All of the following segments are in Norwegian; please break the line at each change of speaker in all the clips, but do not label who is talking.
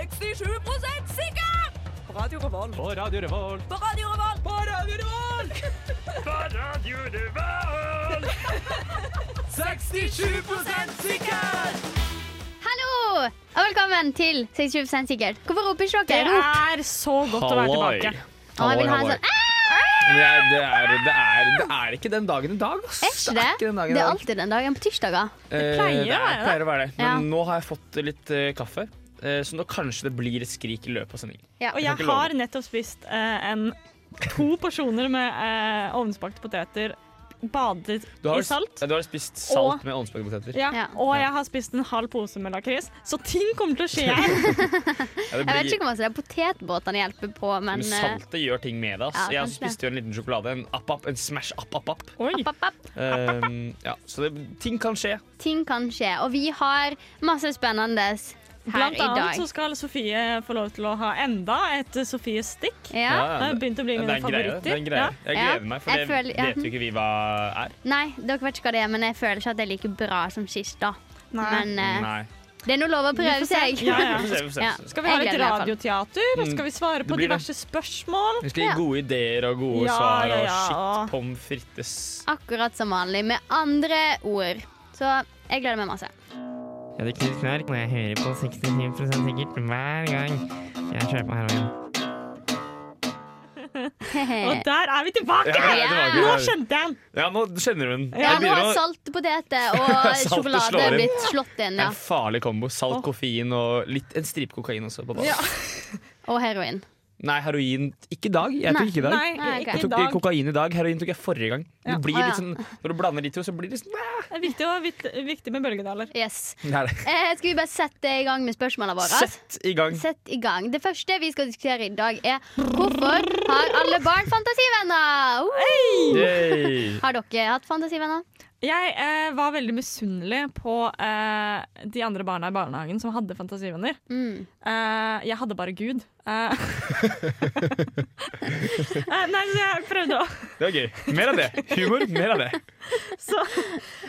67 sikker! På Radio Revolt.
På Radio Revolt.
På Radio Revolt. På Radio Revolt!
67 sikker!
Hallo! Og velkommen til 26 sikkert. Hvorfor roper ikke
Det
dere? Rop!
er så godt å være
Halloi.
tilbake.
Å, jeg vil ha
Halloi,
en sånn «Ah!»
Men jeg- det, er, det, er, det er ikke den dagen i dag, ass.
Er ikke det?
den dagen i
Det er
dag.
alltid den dagen på tirsdager.
Eh,
pleier å
det er,
være det.
pleier å være det. Men
Ja.
nå har jeg fått litt eh, kaffe, eh, så nå kanskje det blir et skrik i løpet av sendingen.
Ja.
Og
Jeg kan
jeg
ikke love
har nettopp spist eh, en, to porsjoner med eh, ovnsbakte poteter badet
Du har,
i salt.
ja, du har spist salt
Og-
med ovnsbakepoteter.
Ja.
Ja.
Og jeg har spist en halv pose med lakris, så ting kommer til å skje her.
Ja, det
Jeg vet
blir-
ikke hvor mye det er potetbåtene hjelper på,
men
men eh,
saltet gjør ting med deg.
ja,
ass. jeg
kanskje det.
spiste jo en liten sjokolade. En app-app. En smash app-app-app.
Oi.
app, app, app.
Um, ja, så det, ting kan skje.
ting kan skje. Og vi har masse spennende her
Blant
i
annet
dag.
så skal Sofie få lov til å ha enda et Sofies stikk.
Ja.
Det har begynt å bli
Ja,
mine
det er en greie.
favoritter.
Det er en greie.
Ja.
Jeg
Ja.
gleder meg, for
Jeg
det
føler- ja.
vet jo ikke vi hva er.
Nei, dere vet ikke hva det er, men jeg føler ikke at det er like bra som sist. da.
Nei.
Men eh,
Nei.
det er nå lov å prøve
Vi får se.
seg.
Ja,
Vi
ja.
får se, vi får se.
Ja.
Skal vi ha
Jeg gleder meg i
litt
hvert fall.
radioteater, og skal vi
Mm.
svare på
Det blir det.
diverse spørgsmål?
Vi skal gi
Ja.
gode ideer og gode
Ja,
svar
ja,
og
ja.
shit pommes frites.
Akkurat som vanlig, med andre ord. Så jeg gleder meg masse.
Jeg hadde knust knark, og jeg hører på 67 sikkert hver gang jeg kjører på heroin.
Eh.
Og der er vi tilbake!
Ja, det var
Nå
gøy.
kjente jeg den!
Ja, nå kjenner hun.
Ja,
Ja,
Jeg
nå har
begynner å
salt, poteter og
Saltet
sjokolade
slår inn.
blitt slått inn. Ja.
en farlig kombo. Salt, koffein og litt, en stripe kokain også. På banen.
Og heroin.
Nei, heroin ikke i dag. Jeg
Nei.
tok ikke i dag.
Nei,
Nei, ok.
ikke
Jeg
i
tok
dag.
kokain i dag. Heroin tok jeg forrige gang.
Ja.
Det blir
Å, ja.
litt sånn, når du blander de to, så blir det sånn
Det er viktig, å vit- viktig med bølgedaler.
Yes.
Nei, det-
Eh, skal vi bare sette i gang med spørsmålene våre?
Sett i gang.
Sett i gang. Det første vi skal diskutere i dag, er hvorfor har alle barn fantasivenner? Uh!
Yay.
Har dere hatt fantasivenner?
Jeg eh, var veldig misunnelig på eh, de andre barna i barnehagen som hadde fantasivenner.
Mm.
Eh, jeg hadde bare Gud. Eh. Eh, nei, så jeg prøvde å
Det var gøy. Mer av det. Humor, mer av det.
Så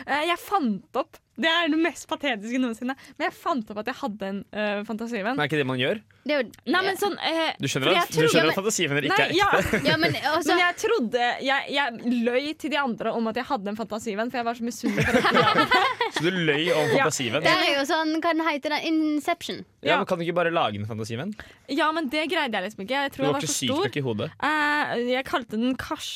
eh, jeg fant opp Det er det mest patetiske noensinne. Men jeg fant opp at jeg hadde en eh, fantasivenn.
Men er ikke det man gjør?
Det er jo
Nei, men sånn eh,
Du skjønner
Fordi
at,
jeg
du
tror-
skjønner
ja,
at fantasivenner ikke
Nei,
er
ja,
ekte?
Ja, men også
men jeg trodde jeg, jeg løy til de andre om at jeg hadde en fantasivenn, for jeg var så misunnelig. på det.
Så du løy om
Ja.
fantasivenn?
Der er jo sånn, hva den heter den? Inception.
Ja, men Kan du ikke bare lage en fantasivenn?
Ja, men det greide jeg liksom ikke. Jeg
Du
tror jeg
var
var
ikke
for
syk
stor.
nok i hodet.
Eh, jeg kalte den Kars...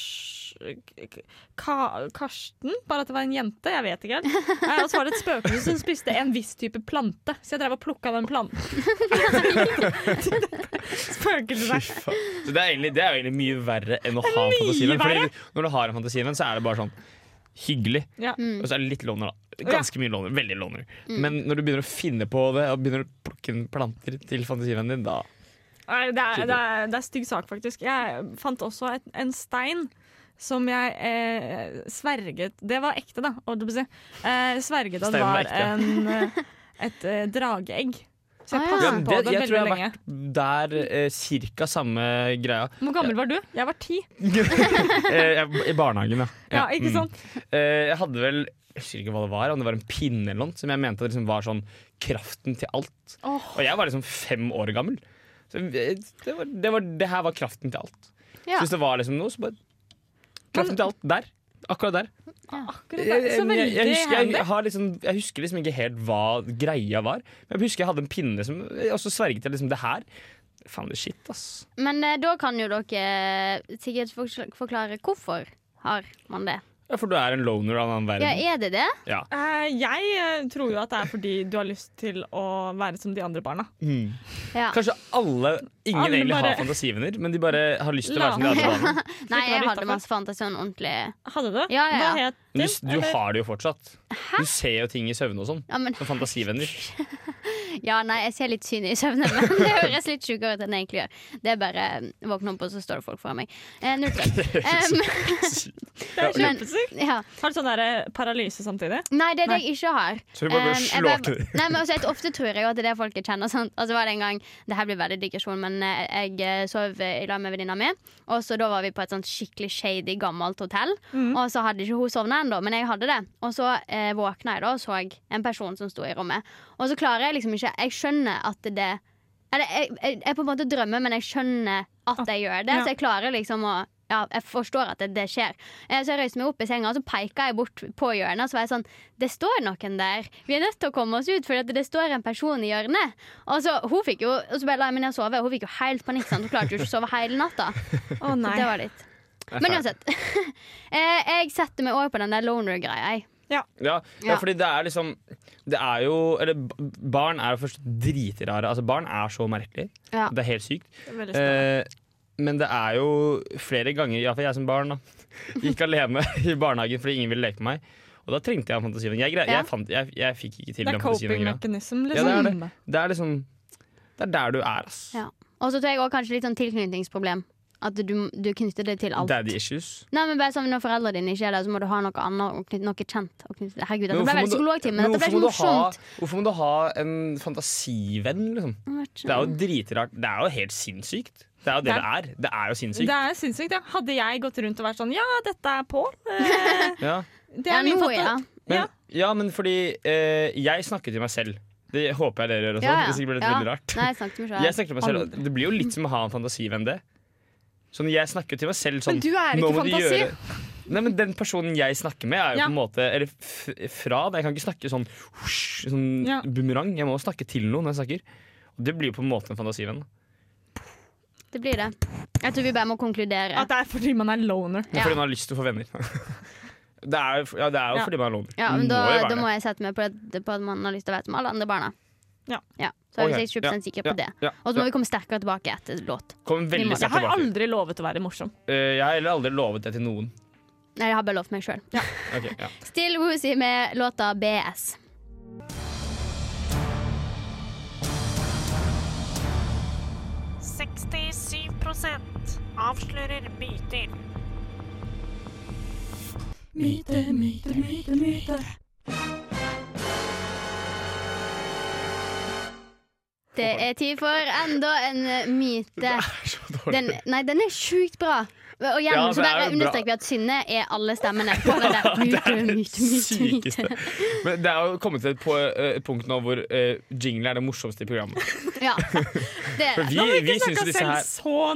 Ka Karsten, bare at det var en jente. Jeg vet ikke helt. Eh, og så var det et spøkelse som spiste en viss type plante, så jeg drev og plukka den planten. spøkelset
Fy
der.
faen. Så det, er egentlig, det er jo egentlig mye verre enn å ha en fantasivenn. Fordi når du har en fantasivenn, så er det bare sånn hyggelig.
Ja.
Og så er det litt loner, da. Ganske mye loner. Veldig loner. Men når du begynner å finne på det, og begynner å plukke inn planter til fantasivennen din, da
Nei, det er, det, er, det er stygg sak, faktisk. Jeg fant også et, en stein som jeg eh, sverget Det var ekte, da. holdt jeg på å si. Eh, sverget at
Steinen var
var
ekte.
en, eh, et eh, drageegg. Så
Ah, ja.
jeg passet
Ja,
på
det-
det,
jeg tror
veldig
jeg har
lenge.
Der eh, cirka samme greia.
Hvor gammel var du? Jeg var ti.
Eh, jeg- I barnehagen, ja.
Ja, ikke
mm.
sant?
Eh, jeg hadde vel jeg husker ikke hva det var, om det var en pinne eller noe, som jeg mente liksom var sånn kraften til alt.
Åh.
Og jeg var liksom fem år gammel. Så jeg- det, var, det, var, det her var kraften til alt.
Ja.
Så hvis det var liksom noe, så bare Kraften til alt. Der. Akkurat der.
Akkurat
Jeg,
der.
jeg,
Så
jeg,
veldig
jeg, husker, jeg,
handy.
har liksom, jeg husker liksom ikke helt hva greia var, men jeg husker jeg hadde en pinne som Og så sverget jeg liksom det her. Faen, det er shit, ass.
Men eh, da kan jo dere eh, sikkert forkl- forklare hvorfor har man det.
Ja, for du er en loner av en annen
Ja,
verden.
er det det?
Ja.
Eh, jeg eh, tror jo at det er fordi du har lyst til å være som de andre barna.
Mm.
Ja.
Kanskje alle Ingen
Alle
egentlig
bare-
har fantasivenner, men de bare har lyst til å
La-
være som de andre. barna.
Nei, jeg
litt
hadde
utenfor.
masse fantasi sånn ordentlig.
Hadde du?
Ja, ja, ja.
Hva het
Men
den?
du, du
Eller-
har det jo fortsatt. Du ser jo ting i søvne og sånn.
Ja, men
Som fantasivenner.
Ja, nei, jeg ser litt syne i søvne, men det høres litt sjukere ut enn jeg egentlig gjør. Det er bare eh, våkne opp, og så står det folk foran meg. Eh, null prøv. Em,
Det er
Men-
kjempesykt.
ja.
Har du sånn der eh, paralyse samtidig?
Nei, det er det jeg ikke har.
Så du bare
Em,
slår
jeg bare-
til det.
Nei, men også, et, Ofte tror jeg jo at det er det folk jeg kjenner. Sant? Og så var det en gang Det her blir veldig digresjon, men eh, jeg eh, sov eh, i lag med venninna mi. Og så da var vi på et sånt skikkelig shady, gammelt hotell.
Mm.
Og så hadde ikke hun sovna ennå, men jeg hadde det. Og så eh, våkna jeg da og så en person som sto i rommet. Og så klarer jeg liksom ikke Jeg skjønner at det Eller, jeg, jeg, jeg på en måte drømmer, men jeg skjønner at jeg gjør det.
Ja.
Så jeg klarer liksom å ja, jeg forstår at det, det skjer. Eh, Så jeg reiste meg opp i senga og så peka jeg bort på hjørnet. Og så var jeg sånn Det står noen der! Vi er nødt til å komme oss ut, for det står en person i hjørnet. Og så hun fikk jo Og så bare la jeg meg ned og sove, og hun fikk jo helt panikk. Sant? Hun klarte jo ikke å sove hele natta.
Å
Så
nei.
det var litt Men uansett. Eh, jeg setter meg over på den der loner-greia, jeg.
Ja, ja,
Ja.
fordi det er liksom Det er jo Eller b- barn er jo først dritrare. Altså, barn er så merkelige.
Ja.
Det er helt sykt.
Veldig spennende.
Eh, men det er jo flere ganger, iallfall jeg som barn, da, gikk alene i barnehagen fordi ingen ville leke med meg. Og da trengte jeg fantasien. Jeg, grei-
Ja.
jeg, fant, jeg, jeg fikk ikke til
det er
den
coping
fantasien. lenger.
mechanism,
Ja,
liksom.
det er det. Det er liksom Det er der du er, ass.
Ja. Og så tror jeg også kanskje litt sånn tilknytningsproblem. At du, du knytter det til alt.
Daddy issues.
Nei, men bare sånn Når foreldrene dine ikke er der, så må du ha noe annet og knytte, noe kjent. Og knytte. det. Herregud,
Men
dette
hvorfor
ble veldig
må du-
psykologtime.
men
Dette ble
hvorfor
så
må du ha-
morsomt.
Hvorfor må du ha en fantasivenn, liksom? Det er jo
Mm.
dritrart. Det er jo helt sinnssykt. Det er jo det det er. Det er jo
Det
sinnssykt.
er sinnssykt, ja. Hadde jeg gått rundt og vært sånn Ja, dette er Pål. eh,
Ja.
Det er
ja,
min
nå,
fantasi.
ja.
Men,
Ja.
ja, men fordi eh, jeg snakker til meg selv. Det håper jeg dere gjør også.
Ja, ja.
Hvis ikke blir det
Ja.
veldig rart.
Nei, jeg snakket med
Jeg
selv.
snakker til meg selv og Det blir jo litt som å ha en fantasivenn, det. Sånn, jeg snakker jo til meg selv sånn
Men du er
«Nå
ikke
må du
fantasi.
gjøre- Nei, men Den personen jeg snakker med, er jo
Ja.
på en måte Eller f fra. da. Jeg kan ikke snakke sånn, husj, sånn
Ja.
bumerang. Jeg må snakke til noen når jeg snakker. Og det blir jo på en måte en fantasivenn.
Det blir det. Jeg tror vi bare må konkludere.
At det er fordi man er loner.
Ja.
Fordi man har lyst til å få venner. Det er, jo- ja, det er jo
Ja.
fordi man er loner.
Ja, men
Det
da,
Mm. jo være
da
det.
må jeg sette meg på, det, på at man har lyst til å være som alle andre barna.
Ja.
Så er
Ok,
vi 60 sikker på
ja,
det.
ja,
Og så
ja.
må vi komme sterkere tilbake etter låt.
Kom
Vi må-
veldig
Jeg
sterkt
har
tilbake.
aldri lovet å være morsom.
Eh, jeg har heller aldri lovet det til noen.
Nei, jeg har bare lovt meg sjøl.
Ok, ja.
Still Woozy med låta BS. Det er tid for enda en eh, myte.
Så dårlig.
Den, nei, den er sjukt bra. Og igjen
Ja, det
så
er
bare
jo bra.
understreker vi at Synne er alle stemmene. På den der, myte, myte, myte, myte.
Sykeste. Men det er jo kommet til et, på, eh, et punkt nå hvor eh, jingle er det morsomste i programmet.
Ja. Det er
For
det.
vi,
Nå har vi
vi syns
ikke
jo
snakka
disse
selv
her
så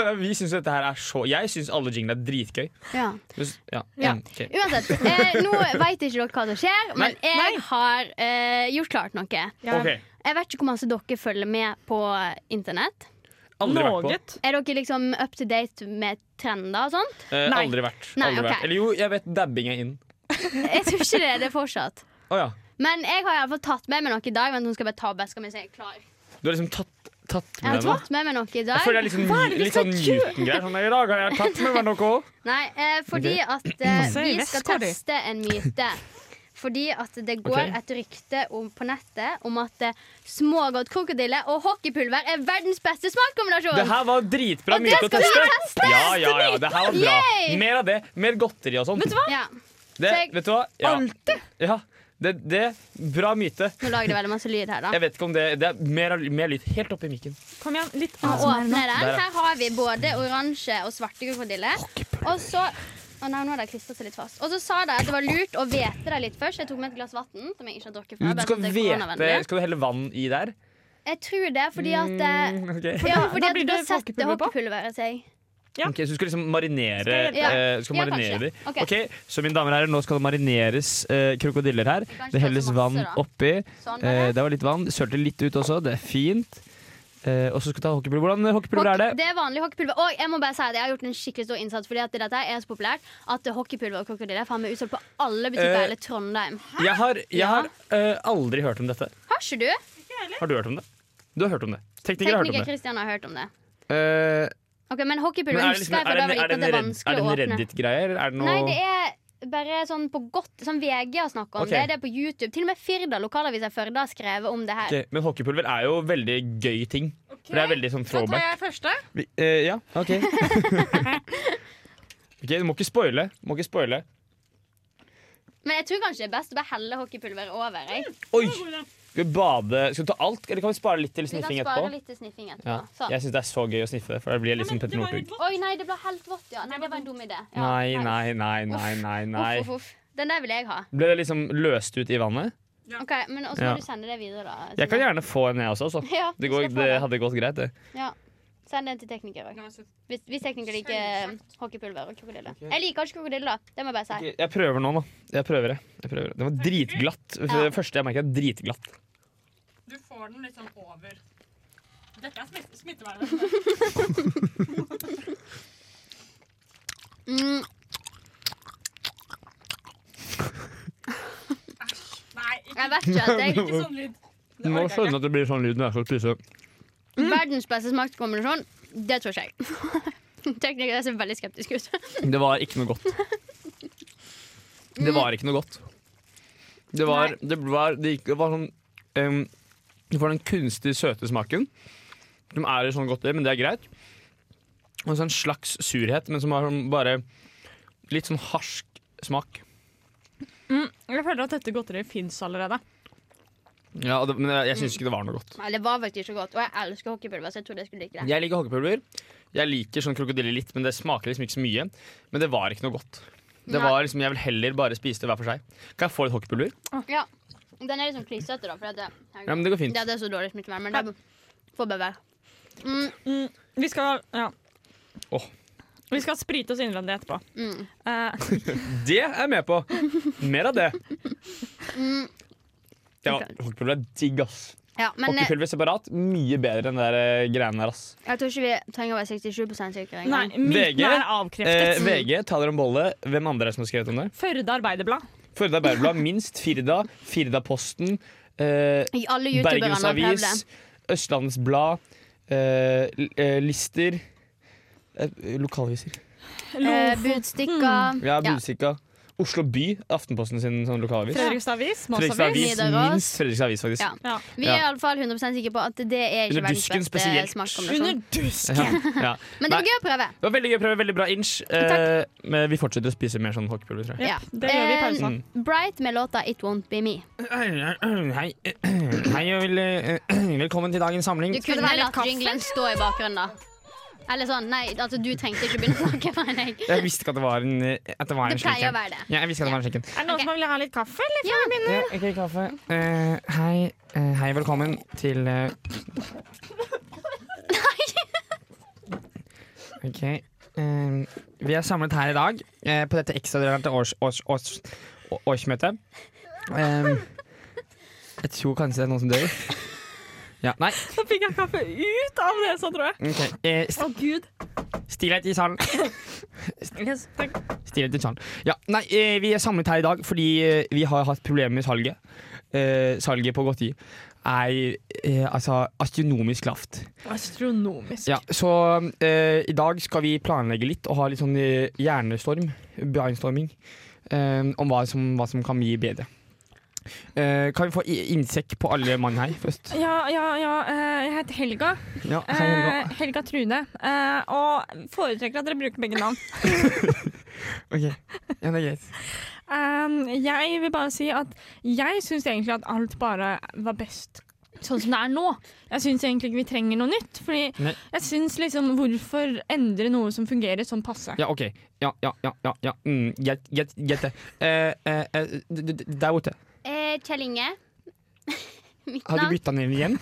ned.
Vi syns dette her er så Jeg syns alle jinglene er dritgøy.
Ja.
Hvis- Ja.
Ja.
Mm, ok.
Uansett, eh, nå veit ikke dere hva som skjer, men
Nei.
Nei.
jeg har eh, gjort klart noe.
Ok.
Jeg vet ikke hvor masse dere følger med på internett.
Aldri vært på.
Noget.
Er dere liksom up to date med trender og sånt?
Eh,
Nei.
aldri vært.
Nei,
Aldri
ok.
vært. Eller jo, jeg vet dabbing er in.
Jeg tror ikke det er det fortsatt.
Å ja.
Men jeg har i alle fall tatt med meg noe i dag. Vent, hun skal bare ta opp veska mi, så jeg er klar.
Du har liksom tatt, tatt
Jeg
med
har
deg noe?
tatt med meg noe i
Jeg
dag.
føler det er litt sånn, litt sånn Newton-greier. Sånn, I dag har jeg tatt med meg noe.
Nei, eh, fordi at eh,
Så i
vi skal
veska di.
teste en myte. Fordi at det går
Ok.
et rykte om, på nettet om at eh, smågodt krokodille og hockeypulver er verdens beste
Det
smakkombinasjon.
her var dritbra
Og det
myte å
skal vi
teste. Ja, ja, ja, det her var bra.
Yay!
Mer av det. Mer godteri og sånn. Vet du hva?
Ja.
Det,
Så jeg-
vet du hva? Ja. ja. Det, det, bra myte.
Nå lager det veldig masse lyd her, da.
Jeg vet ikke om det Det er mer, av- mer lyd helt oppi mikken.
Kom igjen, litt
Nå
ASMR nå.
åpner den.
Der, ja.
Her har vi både oransje og svarte krokodille. Og så Å nei, nå har de klistra seg litt fast. Og så sa de at det var lurt å hvete dem litt først. Jeg tok med et glass vann som jeg ikke har drukket før.
Du
bare
skal
sånn at det er
vete
koronavennlig.
Skal du helle vann i der?
Jeg tror det, fordi at eh,
Mm, ok.
Ja,
da
fordi at
blir
da
det
setter
hockeypulver på.
hockeypulveret seg.
Ok, så du skal liksom marinere
Skal jeg
hjelpe?
eh, Du skal
Ja,
marinere
kanskje.
de.
Ok.
ok, Så mine damer og herrer, nå skal det marineres eh, krokodiller her.
Kanskje
Det helles
ta så masse,
vann
da.
oppi.
Sånn
Eh,
bare.
det var litt vann. Sølte litt ut også. Det er fint. Eh, og så skal du ta hockeypulver. Hvordan eh, hockeypulver er
Hockey-
det?
er vanlig hockeypulver. Og jeg må bare si at jeg har gjort en skikkelig stor innsats, fordi at dette er så populært at hockeypulver og krokodille er faen meg utsolgt på alle butikker i
Eh.
hele Trondheim.
Jeg har, jeg
Ja.
har eh, aldri hørt om dette.
Har ikke du?
Har du hørt om det? Du har hørt om det. Teknikere har hørt om
Tekniker
det.
Kristian har hørt om det.
Eh,
Ok, Men
men
hockeypulver
er det,
husker
liksom,
jeg,
er
for
det,
da
en,
var det
er det,
at det
en,
var
Redd- er
vanskelig
det en
å åpne.
Reddit-greie, eller er det noe
Nei, det er bare sånn på godt Sånn VG har snakket om
Ok.
det. Det er på YouTube. Til og med Firda lokalavisa i Førde har skrevet om det her.
Ok, Men hockeypulver er jo veldig gøy ting. For det er veldig sånn
Da tar
throwback.
jeg første.
Vi, eh, ja, OK. Ok, Du må ikke spoile. Må ikke spoile.
Men jeg tror kanskje det er best å bare helle hockeypulveret over. Jeg.
Oi! Skal vi bade Skal du ta alt, eller kan vi spare litt til
Vi kan
sniffing
spare
etterpå?
litt til sniffing etterpå.
Ja.
Sånn.
Jeg syns det er så gøy å sniffe det, for da blir liksom jeg litt som Petter Northug.
Oi, nei, det ble helt vått, ja. Nei, det var en dum idé. Ja,
Nei, nei, nei, nei, nei. nei.
Uff, uff, uff. Den der vil jeg ha.
Ble det liksom løst ut i vannet?
Ok, men også
Ja.
må du sende det videre, da. Sine.
Jeg kan gjerne få en, jeg også. Altså.
Ja,
Det,
jeg
går,
skal få
det hadde gått greit, det.
Ja. Send den til tekniker òg. Hvis, hvis tekniker liker um, hockeypulver og krokodille. Jeg liker ikke krokodille, da. Det må jeg bare si.
Jeg prøver nå, da. Jeg prøver det. Jeg prøver det. det var dritglatt.
Ja.
Det første jeg merket, er dritglatt.
Du får den litt sånn over Dette er smitt smittevern.
Mm,
Nei, ikke,
jeg vet ikke. at Jeg,
ikke sånn lyd.
Du må skjønne at det blir sånn lyd når jeg skal spise.
verdens beste smakskombinasjon, det tror ikke jeg. Tekniker ser veldig skeptisk ut.
Det var ikke noe godt. Det var ikke noe godt. Det var, det var, det gikk, det var sånn em, Du får den kunstig søte smaken, som er i sånn godteri, men det er greit. Og så en sånn slags surhet, men som har sånn bare litt sånn harsk smak.
Jeg føler at dette godteriet fins allerede.
Ja, og det, Men jeg, jeg syns ikke det var noe godt.
Nei, det var faktisk ikke godt. Og jeg elsker hockeypulver, så jeg trodde jeg skulle like det.
Jeg liker hoggepulver. Jeg liker sånn krokodille litt, men det smaker liksom ikke så mye. Men det var ikke noe godt. Det
Nei.
var liksom, Jeg vil heller bare spise det hver for seg. Kan jeg få litt hoggepulver?
Ja. Den er litt sånn klissete, da. For at det,
Ja, men det går fint.
det, det er så dårlig smittevern, men det får bare være. Mm,
Vi skal, ja.
Åh.
Vi skal sprite oss innvendig etterpå.
mm.
Eh,
Det er jeg med på. Mer av det. Ja, hockeypulver er digg, ass.
Ja, men eh,
Hockeypulver separat, mye bedre enn de der, eh, greiene der, ass.
jeg tror ikke vi trenger å være 67 sikre
nei,
engang.
myten
VG,
er avkreftet.
Eh, VG, ta dere en bolle. Hvem andre er det som har skrevet om det?
Førde Arbeiderblad.
Førde Arbeiderblad, minst Firda, Firdaposten, eh,
I alle youtuberne
Bergens
har prøvd det.
Avis, Østlandets Blad, eh, l- eh, Lister eh, Lokalaviser.
Eh, Budstikker.
Ja, Budstikka. Oslo By, Aftenposten sin sånn lokalavis.
Fredrikstad Avis.
Fredrikstad
Målsavis.
Avis,
Nidaros.
minst Fredrikstad Avis, faktisk.
Ja.
Ja.
Vi er
Ja.
i alle fall 100 sikre på at det er ikke
Under
verdens
dusken
beste
spesielt.
Under
smakskombinasjon.
dusken!
Ja.
sånn. Men det
Nei.
var gøy å prøve.
Det var veldig gøy prøve, veldig bra inch. Eh, men vi fortsetter å spise mer sånn hockeypulver, tror jeg.
Ja.
Det gjør vi i
Eh,
pausen.
Bright med låta 'It Won't Be Me'.
Hei, hei og vel, velkommen til dagens samling.
Du kunne
være litt
latt
kaffe?
jinglen stå i bakgrunnen, da. Eller sånn, nei, altså du trengte ikke begynne å snakke, mener jeg.
Jeg visste ikke at det var en, eh, at det var en
Det
slik
pleier
en.
å være det.
Ja, jeg visste at det var en slik en.
Er det noen som vil ha litt kaffe? Eller?
Ja,
Ja, ok, kaffe. Eh, hei, eh, hei, velkommen til eh, Ok. eh, vi er samlet her i dag eh, på dette ekstraordinære års, års, års, å- årsmøtet.
Ehm,
Eh, jeg tror kanskje det er noen som dør. Ja, nei.
Så fikk jeg kaffe ut av nesa, tror jeg.
ok. Eh,
Å, gud.
stillhet i salen.
Yes, takk.
Stillhet i salen. Ja, nei, eh, vi er samlet her i dag fordi eh, vi har hatt problemer med salget. Eh, salget på godteri er eh, altså astronomisk lavt.
Astronomisk.
Ja, så eh, i dag skal vi planlegge litt og ha litt sånn eh, hjernestorm, brainstorming, eh, om hva som, hva som kan bli bedre. Eh, kan vi få i- innsekk på alle mann her først?
Ja, ja, ja. eh, Jeg heter Helga.
Ja, hei, Helga.
Eh, Helga Trune. Eh, Og foretrekker at dere bruker begge navn.
Ok, ja, det er greit.
Um, jeg vil bare si at jeg syns egentlig at alt bare var best sånn som det er nå. Jeg syns egentlig ikke vi trenger noe nytt. Fordi
Nei.
jeg syns liksom Hvorfor endre noe som fungerer sånn passe?
Ja, ok. Ja, ja, ja, ja, ja. Mm, Gjett, gjett, gjett det. Eh, eh, eh, d- d- d- der borte.
Eh, Kjell Inge. Mitt
Har du
navn.
bytta ned igjen?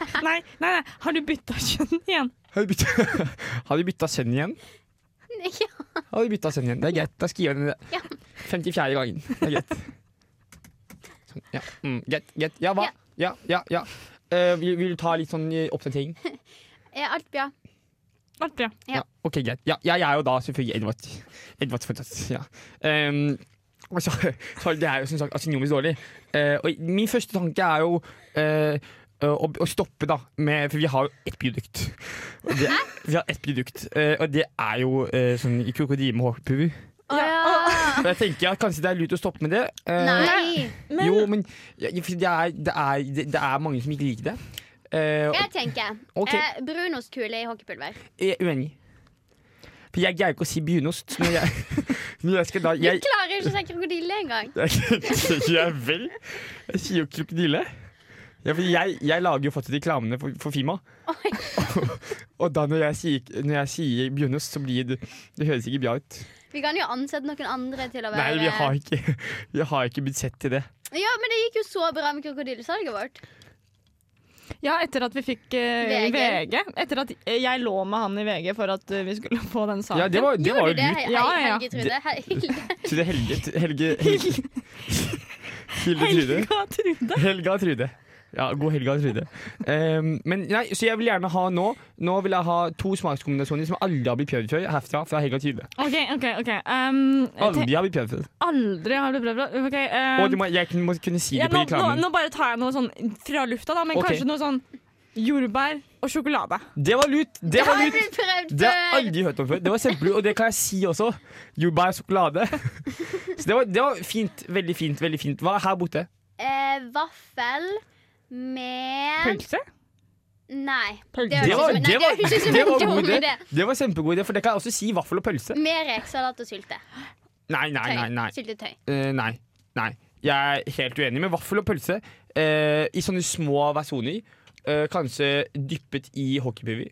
Nei, nei, nei, har du bytta kjønn igjen?
Har du bytta, har du bytta sønn igjen?
Ja.
Har du bytta sønn igjen? Det er greit, da skriver jeg ned det.
Ja.
54. gangen. Det er greit. Sånn, ja, mm, greit, greit. Ja, hva? Ja, ja, ja. Eh, vil, vil du ta litt sånn eh, oppdatering?
Eh, Alpia.
Alt bra.
Ja.
Ok, greit. Ja, jeg er jo da selvfølgelig Edvard. Edvard fortsatt, ja. Ehm, og så, så det er jo som sagt astronomisk dårlig. Eh, og min første tanke er jo eh, å, å stoppe, da. Med, for vi har jo ett produkt. Og det, vi har ett produkt, eh, og det er jo eh, sånn i krokodille med hårpubu.
Å ja.
Og jeg tenker at kanskje det er lurt å stoppe med det. Eh,
Nei.
Jo, men ja, for det, er, det, er, det, det er mange som ikke liker det. Eh, og
Jeg tenker
Ok.
eh, brunostkule i hockeypulver.
jeg er uenig. For jeg greier ikke å si brunost. Når jeg, når jeg skal da
Du
jeg,
klarer ikke å si krokodille engang.
Det sier ikke jeg vel. Jeg sier jo krokodille. Ja, for jeg, jeg lager jo fortsatt reklamene for, for Fima. og, da når jeg sier, når jeg sier brunost, så blir det Det høres ikke bra ut.
Vi kan jo ansette noen andre til å være
Nei, vi har ikke, vi har ikke budsjett til det.
Ja, men det gikk jo så bra med krokodillesalget vårt.
Ja, etter at vi fikk eh,
VG.
VG. Etter at eh, jeg lå med han i VG for at eh, vi skulle få den saken.
Ja, det var, det var jo
Gjorde du det,
lurt.
Hel-
Ja, ja, ja.
Helge Trude? Hel-
Så det er Helge Helge Helge, Hilde Trude.
Helga Trude.
Helga Trude. Ja, god helga, Trude. Ehm, men nei, så jeg vil gjerne ha nå Nå vil jeg ha to smakskombinasjoner som aldri har blitt prøvd før. Herfra fra Helga Trude.
OK, OK. ok um,
Aldri har blitt prøvd før.
aldri har blitt prøvd. Ok, um,
Og du må, jeg kunne- må kunne si det
ja,
på
nå, nå,
reklamen.
nå bare tar jeg noe sånn fra lufta, da, men
Ok.
kanskje noe sånn jordbær og sjokolade.
Det var lut! Det
Det
var
har jo
lut!
blitt prøvd
Det har jeg
før!
aldri hørt om før. Det var kjempelurt, og det kan jeg si også. Jordbær og sjokolade. Så det var, det var fint. Veldig fint. veldig fint Hva er her borte?
Eh, vaffel med
Pølse?
Nei.
Pølse.
Det
Det var,
høres ut som- nei,
det
det
var,
høres ut som
det
en
var
dum
god idé.
idé.
Det var kjempegod idé, for det kan jeg også si vaffel og pølse.
Med rekesalat og sylte.
Nei, nei, nei. nei.
Syltetøy.
Eh, nei. nei. Jeg er helt uenig med vaffel og pølse. eh, I sånne små versjoner. eh, kanskje dyppet i hockeypulver.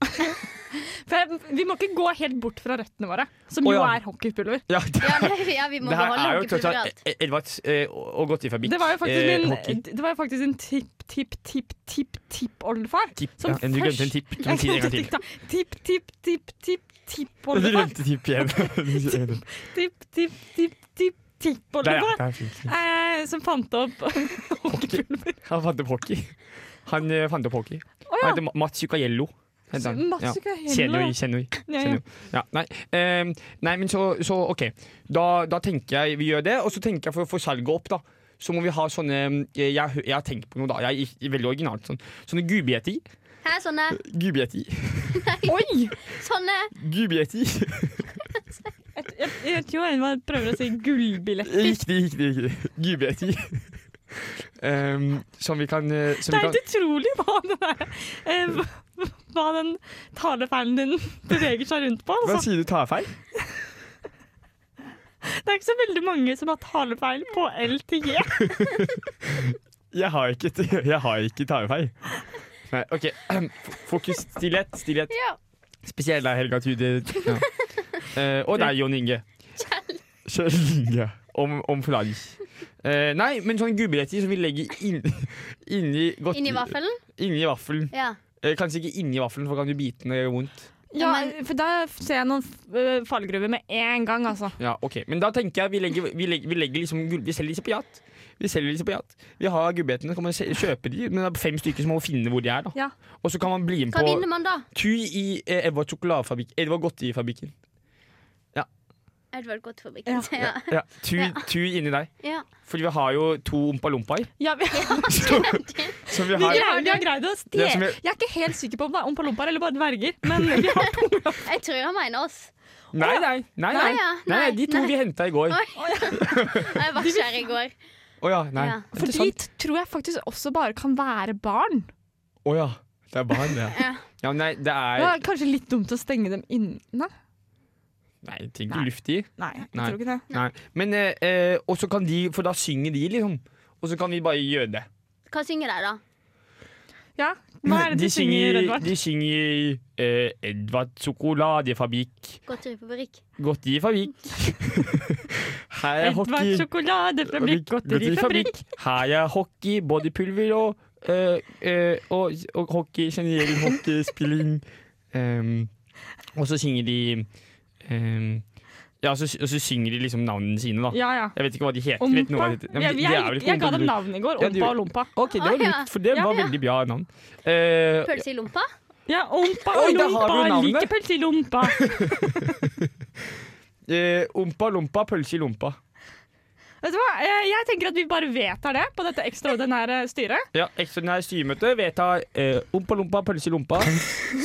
For vi må ikke gå helt bort fra røttene våre, som
Å,
jo
ja.
er hockeypulver.
Ja, det,
Ja, nei, ja, vi må
det her
beholde
er jo tross
hockeypulver
alt
alt.
eh, Edvards eh, og godterifabrikk.
Det var jo faktisk
eh,
min,
hockey.
det var jo faktisk din tipp-tipp-tipp-tipp-tippoldefar.
Tipp.
som
Ja, du glemte en
først-
tipp. Du må si det en gang til. Du
Tipp-tipp-tipp-tipp-tipp-tippoldefar.
glemte tipp igjen. Der, ja.
Tipp-tipp-tipp-tipp-tippoldefar.
Der fikk vi.
Eh, som fant opp hockeypulver.
Han fant opp hockey. Han eh, fant opp hockey.
Å
Han
ja!
heter Ma- Mats Zuccarello. heter han. Ja.
Masse
Kjenner
kaheller.
vi, kjenner vi.
Ja, ja.
Skjønner jo. Ja, nei. Ehm, nei, men så, så OK. Da, da tenker jeg vi gjør det. Og så tenker jeg for å få salget opp, da. Så må vi ha sånne eh, Jeg, hø- jeg har tenkt på noe, da. Jeg er veldig originalt. Sånn. Sånne gubieti.
Her, sånne,
Gubieti.
Oi!
sånne
Gubieti.
Jeg- Jeg jeg tror jeg prøver å si gullbilletter.
Riktig, riktig. riktig. Gubieti. Ehm, som vi kan eh, som vi
Det er
kan,
helt utrolig hva den, der, eh, hva- hva den talefeilen din beveger seg rundt på.
Hva
Altså.
sier du tar jeg feil?
Det er ikke så veldig mange som har talefeil på L til G.
Jeg har ikke, jeg har ikke tar jeg feil. Nei, OK. F- Fokus. Stillhet. Stillhet.
Ja.
Spesielt deg, Helga Tude. Ja. Eh, og deg, Jon Inge. Kjell Inge. Om, om flagg. Eh, nei, men sånn gubberetter som vi legger inn, inni godt-
inni vaffelen.
Inni vaffelen.
Ja.
Eh, kanskje ikke inni vaffelen, for da kan du bite den og gjøre vondt.
Ja,
Ja, men-
for da ser jeg noen eh, fallgruver med en gang, altså.
Ja, ok. Men da tenker jeg vi legger, vi legger, vi legger liksom gull- Vi selger disse på Jat. Vi selger disse på Jat. Vi har gubberettene, så kan man se- kjøpe de, men det er fem stykker som må finne hvor de er. da
Ja.
Og så kan man bli med
Hva
på
vinner man da?
Ku i eh, Edvard sjokoladefabrikk Edvard Godterifabrikken.
Edvard Godtfabrikken. Ja.
Ja, tu,
Ja.
tu inni deg.
Ja.
Fordi vi har jo to ompa-lompaer.
Ja, vi,
Så- Som vi
vi,
har
greier, vi har greid å stjele
Det som
jeg,
jeg-
er ikke helt sikker på om det er ompalompa eller bare dverger, men vi har to.
Jeg tror han mener oss.
Nei, nei. nei, nei.
Nei, ja,
nei, nei
nei,
de to
nei.
vi henta i går.
Oi. Jeg var ikke her i går.
Å ja, nei.
Ja.
Er det
For de
sant?
tror jeg faktisk også bare kan være barn.
Å ja. Det er barn, det.
Ja.
Ja, men nei, det
Det
er
er kanskje litt dumt å stenge dem inne.
Nei, tenk ikke luft i.
Nei, jeg
Nei.
tror ikke det.
Nei. Men eh, eh, Og så kan de For da synger de, liksom. Og så kan vi bare gjøre det.
Hva synger de, da?
Ja, Hva er det de, synger, Edvard?
De synger eh, Edvard sjokoladefabrikk.
Godterifabrikk.
Godterifabrikk. Her er
Edvard
hockey.
sjokoladefabrikk, godterifabrikk.
Godterifabrikk. Her er hockey, bodypulver og, eh, eh, og, og hockey, generell hockeyspilling. Em, og så synger de em, Ja, så, og så synger de liksom navnene sine, da.
Ja, ja.
Jeg vet ikke hva de heter. Vet noen
Ompa.
hva de heter. Nei, men
Jeg,
de- de er vel
jeg,
ikke
jeg ga
ompa
dem
lurt.
navn i går.
Ja, du-
Ompa og Lompa.
OK, det
Å,
var
ja.
lurt, for det
Ja,
var
ja.
veldig bra navn. Eh,
Pølse i lompa?
Ja, Ompa
Oi,
og
der har
Lompa.
du navnet.
Like pølse i Lompa.
eh, ompa lompa, pølse i lompa.
Vet du hva? Eh, Jeg tenker at vi bare vedtar det på dette ekstraordinære styret.
Ja, Ekstraordinært styremøte vedtar eh, ompa lompa, pølse i lompa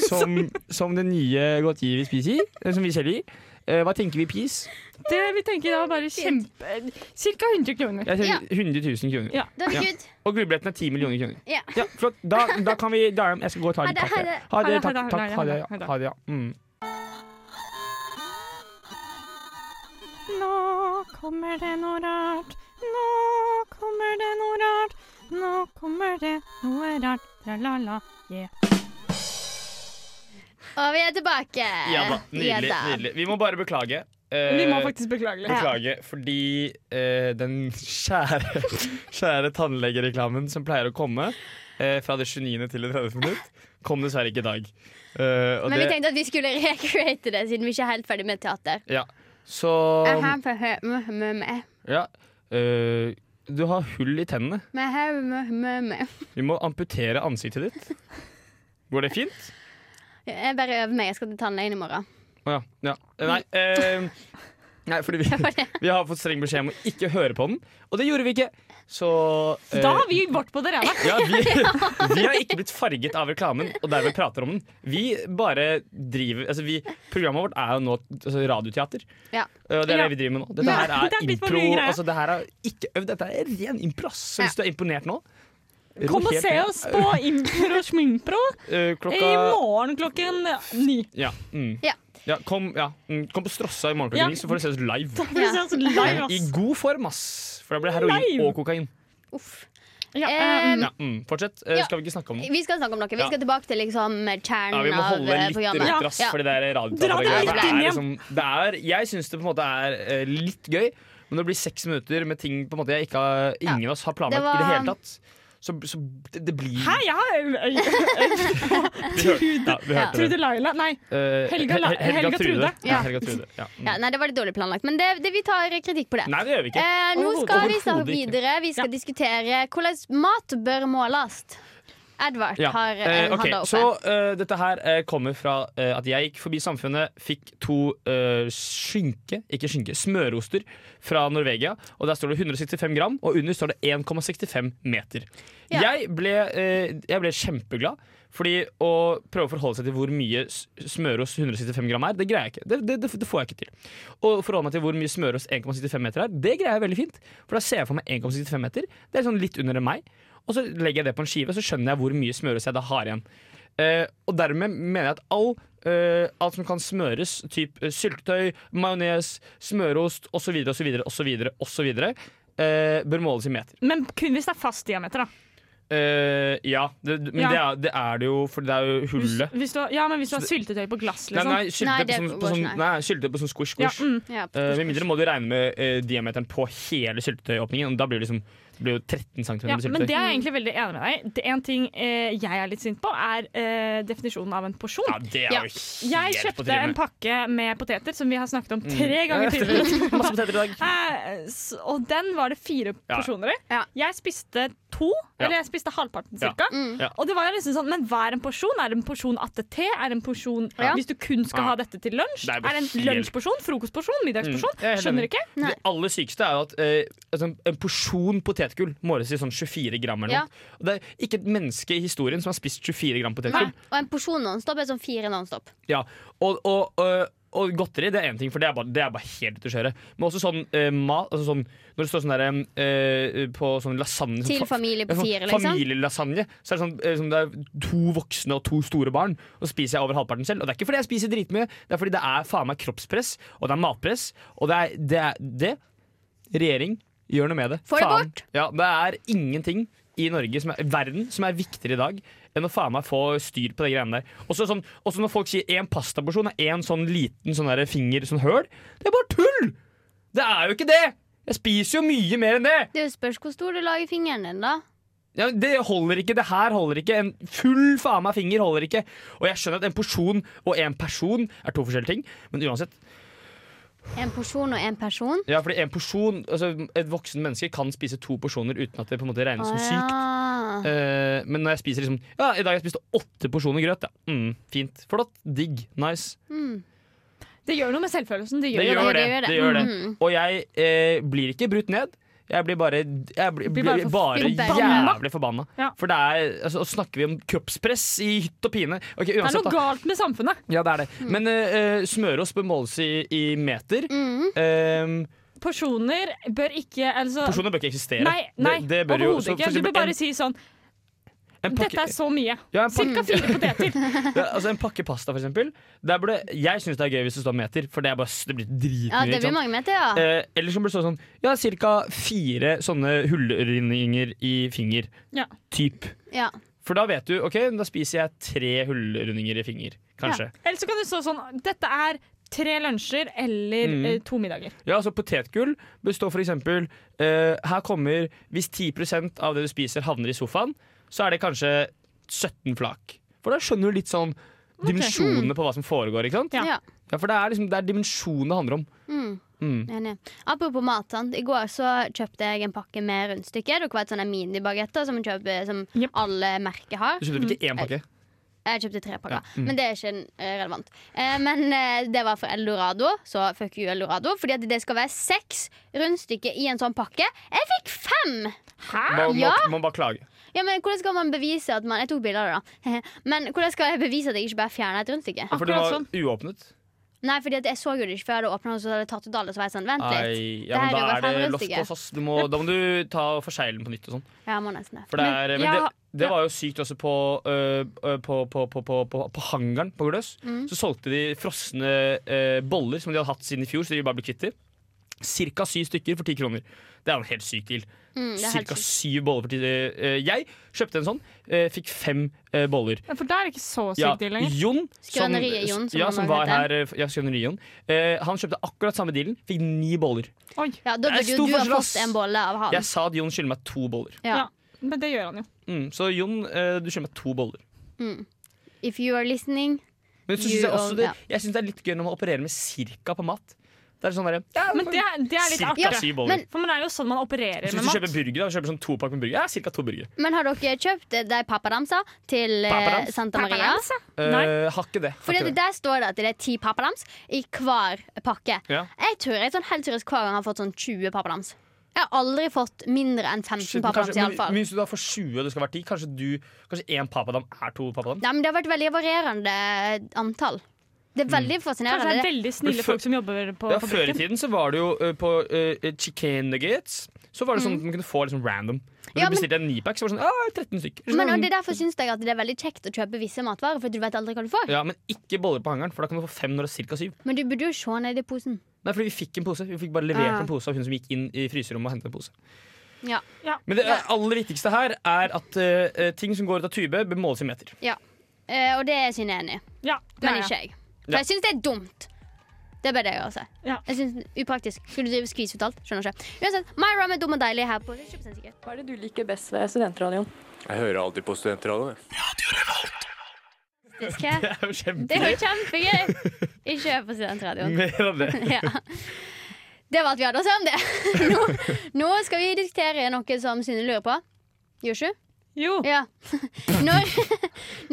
som, som den nye godteriet vi spiser, eh, som vi selger. Eh, hva tenker vi pris?
Det vi tenker da bare kjempe... Cirka 100 kroner.
Jeg sier
Ja.
100 000 kroner.
Ja.
Da er
Ja.
det good.
Og gullbilletten er 10 millioner kroner.
Ja.
Ja, flott. Da, da kan vi da, Jeg skal gå og ta
Ha
litt
det, ha
kaffe.
det.
Ha det.
Ha det,
Takk.
ha det,
takk,
ha
Ha
det,
det.
ha det.
Ha det, ja. Mm.
Nå kommer det noe rart. Nå kommer det noe rart. Nå kommer det noe rart. Tra-la-la.
Og vi er tilbake.
Ja da. Nydelig.
Ja da. Eh,
nydelig. Vi må bare beklage. eh,
Vi må faktisk beklage litt.
beklage, fordi eh, den kjære, kjære tannlegereklamen som pleier å komme eh, fra det 29. til det 30. minutt, kom dessverre ikke i dag. Eh, og
Men vi
det,
tenkte at vi skulle recreate det, siden vi ikke er helt ferdig med teater.
så
Jeg har på hø- mø- mø- mø-
Ja. eh, du har hull i tennene.
mø- hø- mø- mø- mø.
Vi må amputere ansiktet ditt. Går det fint?
Jeg bare øver meg. Jeg skal til tannlegen i morgen.
Å ja. ja. Eh, Nei, eh, nei fordi vi, vi har fått streng beskjed om å ikke høre på den, og det gjorde vi ikke. Så eh,
Da har vi vårt på det rene.
ja, vi, vi har ikke blitt farget av reklamen, og derved prater om den. Vi bare driver altså vi, Programmet vårt er jo nå altså radioteater.
Ja.
Eh, og Det er
Ja.
det vi driver med nå. Dette her
Det
er
er litt for
impro.
mye greier.
Altså, det her er ikke øvd, dette er ren impro. ass. Så
Ja.
hvis du er imponert nå ro
Kom og
helt
se
ned.
oss på Impro Schmimpro
Eh,
i
klokka
morgen klokken ni.
ja, mm.
Ja.
Ja, kom, ja. Mm, kom på Strossa i morgen klokka
Ja.
ni, så får du se oss live.
Da blir det sånn live,
I
ass.
god form, ass. For da blir det heroin
Live.
og kokain.
Uff.
Ja,
Eh,
eh,
Ja, mm. Fortsett. Eh,
Ja.
Skal vi ikke snakke om det?
Vi skal snakke om noe. Vi skal tilbake til liksom
Ja, Vi
kjernen
må
av
holde
eh,
litt
programmet.
rundt rass,
Ja.
for det der
Dra det
radioteatergreiet
litt
det er
inn igjen.
liksom, det er, Jeg syns det på en måte er eh, litt gøy, men når det blir seks minutter med ting på en måte jeg ikke har,
Ja.
ingen av oss har planlagt
Det
i
var-
det hele tatt, så, så det, det blir
Hæ, jeg har
Vi hørte, ja, vi hørte
Trude Laila Nei,
det. Eh,
Helga La-
Hel- Hel-
Helga Trude.
Ja, Helga Trude. Ja. Mm.
Ja, nei, det var litt dårlig planlagt, men det, det, vi tar kritikk på det.
Nei, det gjør vi ikke.
Eh, nå skal vi
Overhodet
snakke
ikke.
videre. Vi skal diskutere hvordan mat bør måles. Edvard
Ja,
har eh,
Eh, ok,
handa oppe.
Så eh, dette her eh, kommer fra eh, at jeg gikk forbi Samfunnet, fikk to eh, skinke, ikke skinke, smøroster fra Norvegia. Og der står det 165 gram, og under står det 1,65 meter.
Ja.
Jeg, ble, eh, jeg ble kjempeglad. Fordi å prøve å forholde seg til hvor mye s- smørost 165 gram er, det greier jeg ikke. Det, det, det får jeg ikke til. Å forholde meg til hvor mye smørost 1,65 meter er, det greier jeg veldig fint. For da ser jeg for meg 1,65 meter. Det er sånn litt under enn meg. Og så legger jeg det på en skive, så skjønner jeg hvor mye smørost jeg da har igjen. Eh, og dermed mener jeg at all, eh, alt som kan smøres, typ eh, syltetøy, majones, smørost osv., osv., osv., osv., eh, bør måles i meter.
men kun hvis det er fast diameter, da.
Eh, ja, det, men
Ja. liksom.
Det, er, det er det jo, for det er jo
Hvis,
hullet.
hvis du, har- ja, men hvis du har syltetøy på glass,
Nei,
liksom.
nei, syltetøy
Nei,
på
det
sånn- på
går
sånn-
ikke,
nei, syltetøy på sånn squish,
Ja,
squish.
mm.
Ja.
Eh, med mindre må du regne med eh, diameteren på hele syltetøyåpningen. Og da blir det, liksom, det blir jo 13 cm
Ja, men
syltetøy.
det er jeg egentlig veldig enig med deg Det En ting eh, jeg er litt sint på, er eh, definisjonen av en porsjon.
ja, det er
Ja.
jo helt
Jeg kjøpte en pakke med poteter, som vi har snakket om
Mm.
tre ganger tidligere.
Masse poteter i dag.
Eh, s- Og den var det fire
Ja.
porsjoner i.
Ja.
Jeg spiste to,
Ja.
eller jeg spiste halvparten
Ja.
cirka.
Mm.
Ja.
Og det var jo liksom sånn, Men hva er en porsjon? Er det en porsjon ATT? Er det en porsjon
Ja.
hvis du kun skal
Ja.
ha dette til lunsj?
Det er
Er
bare
det en
helt-
lunsjporsjon? Frokostporsjon? Middagsporsjon?
Mm, jeg er helt
Skjønner
enig.
ikke.
Nei.
Det aller sykeste er jo at eh, altså en- en porsjon potetgull måles i sånn 24 gram. eller
Ja.
noe. Og Det er ikke et menneske i historien som har spist 24 gram
Nei.
potetgull.
Og en porsjon nonstop er sånn fire nonstop.
Ja, og, og, og, og godteri det er én ting, for det er bare, det er bare helt ute å kjøre. Men også sånn eh, mat altså sånn, Når det står sånn der, eh, på sånn lasagne sånn
Til
fa-
familie
ja,
på
sånn
fire, liksom.
Familielasagne. Så er det, sånn, eh, som det er to voksne og to store barn, og så spiser jeg over halvparten selv. Og det er ikke fordi jeg spiser dritmye, det er fordi det er faen meg kroppspress, og det er matpress, og det er det. Er det. Regjering, gjør noe med det.
Få det
Faen.
bort.
Ja, det er ingenting i Norge som er, verden som er viktigere i dag enn å faen meg få styr på de greiene der. Også, sånn, også når folk sier én pastaporsjon er én sånn liten sånn der finger, sånn høl. Det er bare tull! Det er jo ikke det! Jeg spiser jo mye mer enn det!
Det er jo spørs hvor stor du lager fingeren din, da.
Ja, men det holder ikke, det her holder ikke. En full faen meg finger holder ikke. Og jeg skjønner at en porsjon og en person er to forskjellige ting, men uansett.
En porsjon og en person.
Ja, fordi en porsjon, altså Et voksen menneske kan spise to porsjoner uten at det på en måte regnes som
Å,
sykt.
ja.
Eh, men når jeg spiser liksom Ja, i dag har jeg spist åtte porsjoner grøt. Ja. Mm, fint. Flott. Digg. Nice.
Mm.
Det gjør noe med selvfølelsen. Det gjør
Det
jo
gjør det.
det, det gjør det.
det, gjør det.
Mhm.
Og jeg eh, blir ikke brutt ned. Jeg blir bare, jeg blir,
Blir
blir
bare
bare,
for-
forbanna.
jævlig forbanna.
Ja.
For det er altså, Og snakker vi om kroppspress i hytt og pine Ok,
Det er
uansett,
noe
da.
galt med samfunnet.
Ja, det er det. Men uh, smørost bør måles i, i meter.
Mm.
Eh,
Porsjoner bør ikke altså,
porsjoner bør ikke eksistere.
Nei, nei
Det- det bør jo-
overhodet
så for
ikke. Du
eksempel
bør
en-
bare si sånn
en pakke-
Dette er så mye.
ja, en pakke-
Cirka fire poteter.
Ja, altså En pakke pasta, for eksempel. Der burde, jeg syns det er gøy hvis det står meter, for det, er bare, det blir dritmye.
ja, det
ikke
blir
sant?
mange meter, ja.
Eh, eller så burde det stå sånn Ja, ca. fire sånne hullrundinger i finger.
Ja.
Typ.
ja.
For da vet du OK, da spiser jeg tre hullrundinger i finger. Kanskje.
Eller så kan det stå sånn Dette er Tre lunsjer eller
Mm.
eh, to middager.
Ja, altså Potetgull består f.eks. Uh, her kommer Hvis 10 av det du spiser, havner i sofaen, så er det kanskje 17 flak. For da skjønner du litt sånn dimensjonene på hva som foregår. ikke sant?
Ja.
Ja.
Ja, For det er liksom, det er dimensjonen det handler om.
Mm.
Mm.
Enig. Apropos mat. Sant? I går så kjøpte jeg en pakke med rundstykker. Dere vet sånne minibagetter som, man kjøper- som
Jep. Mm.
alle merker har.
Du kjøpte ikke én pakke.
Jeg kjøpte tre pakker,
Ja, mm.
men det er ikke eh, relevant. Eh, Men eh, det var for Eldorado, så fuck you Eldorado. Fordi at det skal være seks rundstykker i en sånn pakke. Jeg fikk fem!
Man, må-
Ja.
man bare klage.
Ja, men Hvordan skal man bevise at man Jeg tok bilder av det, da. Men hvordan skal jeg bevise at jeg ikke bare fjerna et rundstykke?
For det
Akkurat
var
sånn.
uåpnet.
Nei, fordi at jeg så jo det ikke før jeg hadde åpna, og så hadde jeg tatt ut alle. Så var jeg sånn, vent litt.
Nei, ja,
Det
men
her
da
er jo
er det
bare
loft
fantastisk.
hos oss. Du må, da må du ta og forsegle den på nytt. og sånn
Ja, jeg må nesten det.
For det
Men
er, men
jeg
det,
har-
det var jo sykt også på, øh, øh, på, på, på, på, på, på hangaren på Gløs.
Mm.
Så solgte de frosne øh, boller som de hadde hatt siden i fjor, så de bare ble kvitt dem. Cirka syv stykker for ti kroner. Det er jo en helt syk deal.
Mm, det er helt
Cirka
sykt.
syv boller for ti øh, Jeg kjøpte en sånn, øh, fikk fem øh, boller.
Ja, For da er det ikke så sykt
Ja,
deal lenger.
Jon, som,
Skrøneriet Jon, som
ja,
han
som
også
var
heter.
her øh, ja, Skrøneriet Jon. Eh, han kjøpte akkurat samme dealen, fikk ni boller.
Oi.
Ja,
Det er
da burde jo
stor
du ha
forskjell, ass.
fått en bolle av han.
Jeg sa at Jon skylder meg to boller.
Ja.
Ja. Men det gjør han jo.
Mm, så Jon, øh, du skylder meg to boller.
If you are listening.
Men så
You
synes jeg også
own-
det,
ja.
jeg synes det er litt gøy når man opererer med cirka på mat. Det er sånn der, ja,
Men det, er- det er litt
cirka
artig.
syv boller.
men-
For man er jo sånn man opererer
så
med
hvis du
mat.
kjøper burger, da, kjøper sånn to pakk med burger, ja, cirka to burger.
Men har dere kjøpt eh, de pappadamsa til eh,
Pappadams?
Santa Maria?
Eh,
Nei.
har ikke det. Har
Fordi
ikke
at
det.
Der står det at det er ti pappadams i hver pakke.
Ja.
Jeg tror jeg sånn helt seriøst hver gang har fått sånn 20 pappadams. Jeg har aldri fått mindre enn 15
Shit, men
pappadams.
kanskje,
i
men,
alle fall
men hvis du da får 20 og det skal være 10, kanskje, du, kanskje en papadam er to papadam?
Nei, men Det har vært veldig varierende antall. Det
Mm.
er veldig
Kanskje det
fascinerende.
er veldig snille folk som jobber på
Ja, Før i
fabrikken.
tiden så var det jo eh, på eh, chicken nuggets Så var det sånn at man kunne få liksom random. Når
Mm. Ja,
du bestilte en nipack, så var det sånn ah, 13 stykker.
Men og det er Derfor syns jeg at det er veldig kjekt å kjøpe visse matvarer. For du vet aldri hva du får
Ja, Men ikke boller på hangaren, for da kan du få fem når det er ca. syv.
Men du burde jo se ned i posen.
Nei, fordi vi fikk en pose. Vi fikk bare levert
Ah.
en pose av hun som gikk inn i fryserommet og hentet en pose.
Ja,
Men det aller viktigste her er at eh, ting som går ut av tube, bør måles i meter.
ja. Eh, Og det er Synne enig i.
Ja, det
Men
er
ikke
jeg.
jeg. For
Ja.
jeg syns det er dumt. Det bør det gjøre seg.
Ja.
Jeg synes det er Upraktisk. Skulle du drive skvis ut alt? Skjønner ikke. Uansett, Myra med dum og deilig her på 20% sikkert.
Hva er det du liker best ved studentradioen?
Jeg hører alltid på studentradioen. jeg.
Fantastisk, hæ?
Det er jo
Det er
kjempegøy.
jo kjempegøy! Ikke hør på studentradioen.
Mer av det.
Ja. Det var at vi hadde oss om det. Nå, nå skal vi diskutere noe som Synne lurer på. Gjør ikke?
Jo.
Oh.
Ja. Når,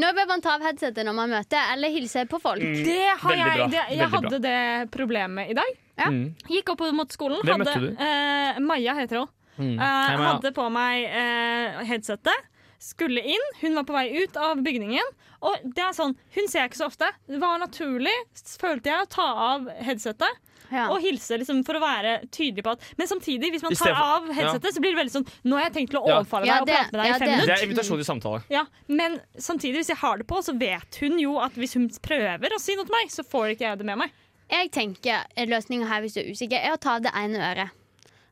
når bør man ta av headsetet når man møter, eller hilse på folk?
Det har
Veldig bra.
jeg, det, jeg
Veldig bra.
hadde det problemet i dag.
Ja.
Mm.
Gikk opp mot skolen.
Hvem
hadde,
møtte du?
eh, Maja heter hun.
Mm.
Eh,
Hei, Maja.
hadde på meg eh, headsetet. Skulle inn. Hun var på vei ut av bygningen. Og det er sånn, Hun ser jeg ikke så ofte. Det var naturlig, s- følte jeg, å ta av headsetet
Mm.
Ja.
og hilse liksom, for å være tydelig på at Men samtidig, hvis man
I
tar
stedet for-
av headsetet, så blir det veldig sånn Nå har jeg tenkt til å
Ja.
overfalle deg
Ja,
og
det-
prate med deg
ja,
i fem
det-
minutter.
Det er invitasjon til samtale.
Ja, Men samtidig, hvis jeg har det på, så vet hun jo at hvis hun prøver å si noe til meg, så får ikke jeg det med meg.
Jeg tenker løsninga her, hvis du er usikker, er å ta av det ene øret.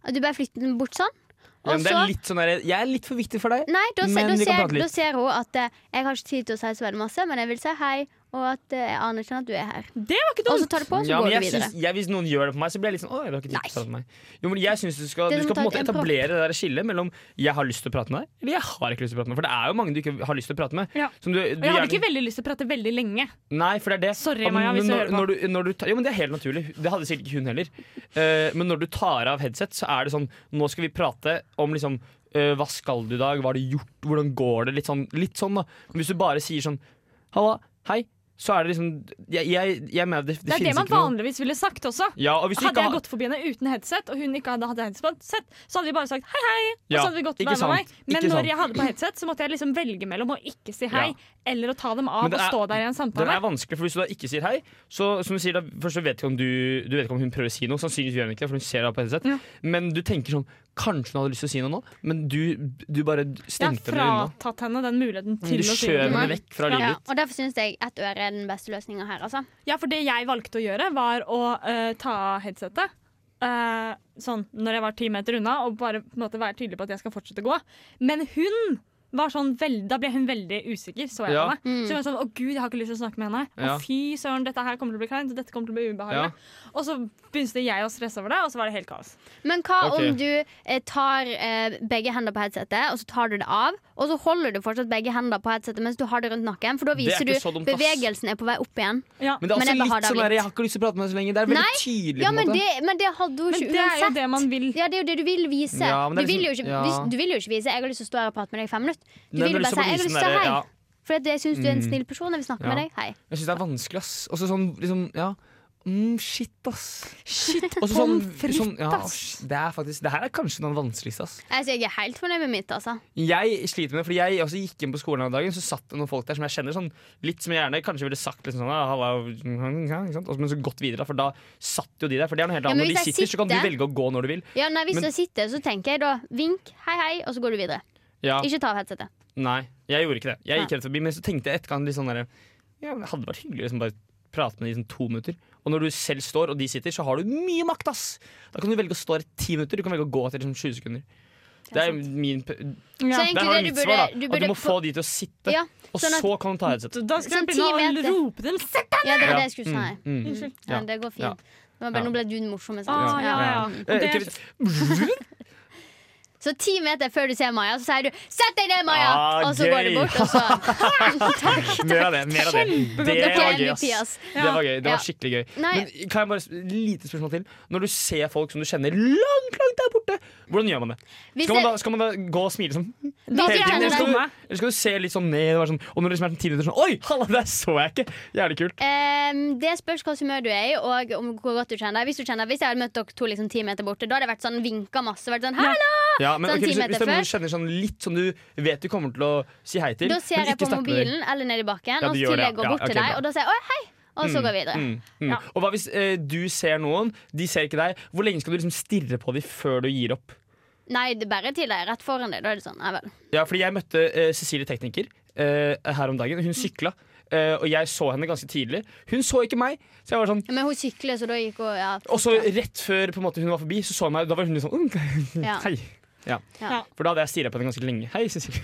At Du bare flytter den bort sånn.
Ja, men
Og
det er
så
litt sånn der, jeg er litt for viktig for deg.
Nei, da, se-
Men
da,
vi kan
ser,
prate litt.
da ser hun at eh, jeg har ikke tid til å si så veldig masse, men jeg vil si hei, og at eh, jeg aner ikke at du er her.
Det var ikke
Og
Altså,
dumt.
så tar du på, og så
Ja, men
går du
jeg
videre.
syns- jeg, hvis noen gjør det på meg, så blir jeg litt sånn Å, du har ikke tid til å prate med meg. Jo, men jeg synes Du skal,
Det er
du
som
skal på en
å ta
måte
et- en propp.
etablere det der skillet mellom 'jeg har lyst til å prate med deg' eller 'jeg har ikke lyst til å prate med deg'. For det er jo mange du ikke har lyst til å prate med.
Ja.
Som du, du
Og jeg hadde
gjerne-
ikke veldig lyst til å prate veldig lenge.
Nei, for det er det.
Sorry,
At
Maja, hvis du
når,
hører på.
Når du, når du ta, jo, men det er helt naturlig. Det hadde sikkert ikke hun heller. Eh, men når du tar av headset, så er det sånn Nå skal vi prate om liksom eh, Hva skal du i dag? Hva har du gjort? Hvordan går det? Litt sånn, litt sånn da. Men hvis du bare sier sånn Halla, hei, så er det liksom Jeg, jeg, jeg mener det, det,
Det er det
finnes
man
ikke noe
vanligvis ville sagt også.
ja, og hvis du
Hadde
ikke
jeg
har-
gått forbi henne uten headset, og hun ikke hadde hatt headset, så hadde vi bare sagt hei, hei. Og
Ja,
så hadde vi gått
ikke
hver med
sant,
meg. Men
ikke sant.
når jeg hadde på headset, så måtte jeg liksom velge mellom å ikke si hei
Ja.
eller å ta dem av
Men det
og
er-
stå der i en
Den
samtale.
er vanskelig, for hvis du da ikke sier hei, så som du sier da, først så vet ikke om du, du vet ikke om hun prøver å si noe. Sannsynligvis gjør hun ikke det, for hun ser det på headset.
Ja.
Men du tenker sånn Kanskje hun hadde lyst til å si noe nå, men du, du bare
Jeg har
stengte henne unna.
fratatt henne den muligheten til
Du
å si
skjøv
noe.
henne vekk fra
Ja,
livet ditt.
og Derfor syns jeg ett øre er den beste løsninga her. Altså.
Ja, for det jeg valgte å gjøre, var å eh, ta av headsetet. eh, sånn når jeg var ti meter unna, og bare på en måte være tydelig på at jeg skal fortsette å gå. Men hun var sånn veld, da ble hun veldig usikker, så jeg
Ja.
på meg.
Mm.
Så hun var sånn 'Å gud, jeg har ikke lyst til å snakke med henne'.
Ja.
Å fy søren, dette her kommer til å bli kleint, dette kommer til å bli ubehagelig. Og så begynte jeg å stresse over det, og så var det helt kaos.
Men hva
Ok.
om du eh, tar eh, begge hender på headsetet, og så tar du det av, og så holder du fortsatt begge hender på headsetet mens du har det rundt nakken, for da
Det er
viser du
ikke så dumt, ass.
bevegelsen er på vei opp igjen.
Ja.
Men det er
Men
også
jeg bare
litt
har det av
sånn der, jeg
litt.
har ikke lyst til å prate med deg så lenge. Det er veldig
Nei,
tydelig. på
Ja,
en
men
måte.
det, men det hadde hun
Men
ikke
det er jo
uansett.
det man vil.
Ja, det er jo det du vil vise.
Ja, men det er
du, vil jo
liksom-
ikke,
ja.
hvis- du vil jo ikke vise 'jeg har lyst til å stå her og prate med deg i fem minutter'. Du
Nei,
vil jo
men
bare si
liksom
'jeg har
vise
lyst
den
til
der-
å hei'.
ja.
For at jeg syns du er en
Mm.
snill person. Jeg vil snakke
Ja.
med deg. Hei.
Jeg syns det er vanskelig, ass. Og så sånn liksom Ja. Mm, shit, ass.
Shit,
Også sånn,
pommes frites,
sånn, ja,
ass.
det er faktisk Det her er kanskje den vanskeligste, ass.
Altså, jeg er helt fornøyd med mitt, altså.
Jeg sliter med det, fordi jeg også gikk inn på skolen den dagen, så satt det noen folk der som jeg kjenner, sånn, litt som jeg gjerne kanskje ville sagt liksom sånn, «Ah, halla, ja, ikke sant? Og så- men så gått videre, da, for da satt jo de der. For det er noe helt
Ja,
annet.
men
Når de
hvis
sitter,
jeg
så kan du
sitter-
velge å gå når du vil.
Ja, nei, Hvis
Men-
du sitter, så tenker jeg da vink, hei, hei, og så går du videre.
Ja,
Ikke ta av headsetet.
Nei, jeg gjorde ikke det. Jeg gikk helt forbi, men så tenkte jeg etterkant litt sånn derre ja, men Det hadde vært hyggelig å liksom bare prate med de i sånn to minutter. Og når du selv står, og de sitter, så har du mye makt, ass! Da kan du velge å stå her i ti minutter, du kan velge å gå etter liksom 20 sekunder. Det er min p-
Så
Ja.
egentlig
Der har du
det du
mitt
burde,
svar, da.
du
At
burde
du må få de til å sitte,
Ja,
og
sånn at-
så kan du ta headset.
Da skal
Sånn
jeg begynne
ti meter.
å rope til dem. Sett deg!
Ja, det var
Ja.
det jeg skulle si.
Mm, mm.
Unnskyld.
Ja,
Ja.
det går fint.
Ja.
Det var bare,
Ja.
nå ble du den morsomme.
Å,
sant?
Ah, ja, ja.
Eh,
Det er
ikke-
Så ti meter før du ser Maja, så sier du 'sett deg ned, Maja'!
Ah,
og så går
gøy.
du bort, og så Takk.
Mer av det. Mer av det.
Kjempebra.
Det
Dere
var
er
gøy, ass.
MVP, ass.
Det var gøy, det
Ja.
var skikkelig gøy.
Nei.
Men kan jeg bare s- lite spørsmål til? Når du ser folk som du kjenner langt, langt der borte, hvordan gjør man det?
Hvis
Skal man
jeg-
da, skal man da gå og smile sånn? hele
Da skal
tiden,
jeg gjerne
eller, skal
det.
du, eller skal du se litt sånn ned og være sånn Og når det liksom er sånn ti minutter sånn Oi, halla, der så jeg ikke! Jævlig kult.
Ehm, det spørs hva humør du er i, og om hvor godt du kjenner deg. Hvis, du kjenner, hvis jeg hadde møtt dere to liksom, ti meter borte, da hadde jeg vært sånn vinka masse. Vært sånn, Hallo!
Ja, men
Sånn
ok,
ti
hvis,
meter
hvis det er noen du
før.
kjenner sånn litt som du vet du kommer til å si hei til,
Da ser jeg på
snakke med dem.
mobilen eller ned i bakken,
Ja,
og
du
så
gjør
til
det,
jeg går
ja.
bort
Ja,
til
ok,
deg,
bra.
og da sier jeg 'å, hei', og så går jeg videre.
Mm, mm. Og hva hvis eh, du ser noen, de ser ikke deg, hvor lenge skal du liksom stirre på dem før du gir opp?
Nei, det er bare til deg, rett foran deg. Da er det sånn, ja vel.
Ja, fordi jeg møtte eh, Cecilie Tekniker eh, her om dagen. Hun sykla, eh, og jeg så henne ganske tidlig. Hun så ikke meg, så jeg var sånn
Ja, Men hun sykler, så da gikk hun ja.
Og så rett før på en måte, hun var forbi, så så hun meg. Da var hun litt sånn mm,
Ja.
Hei. Ja.
Ja.
For da hadde jeg stirra på henne ganske lenge. Hei, Cecilie.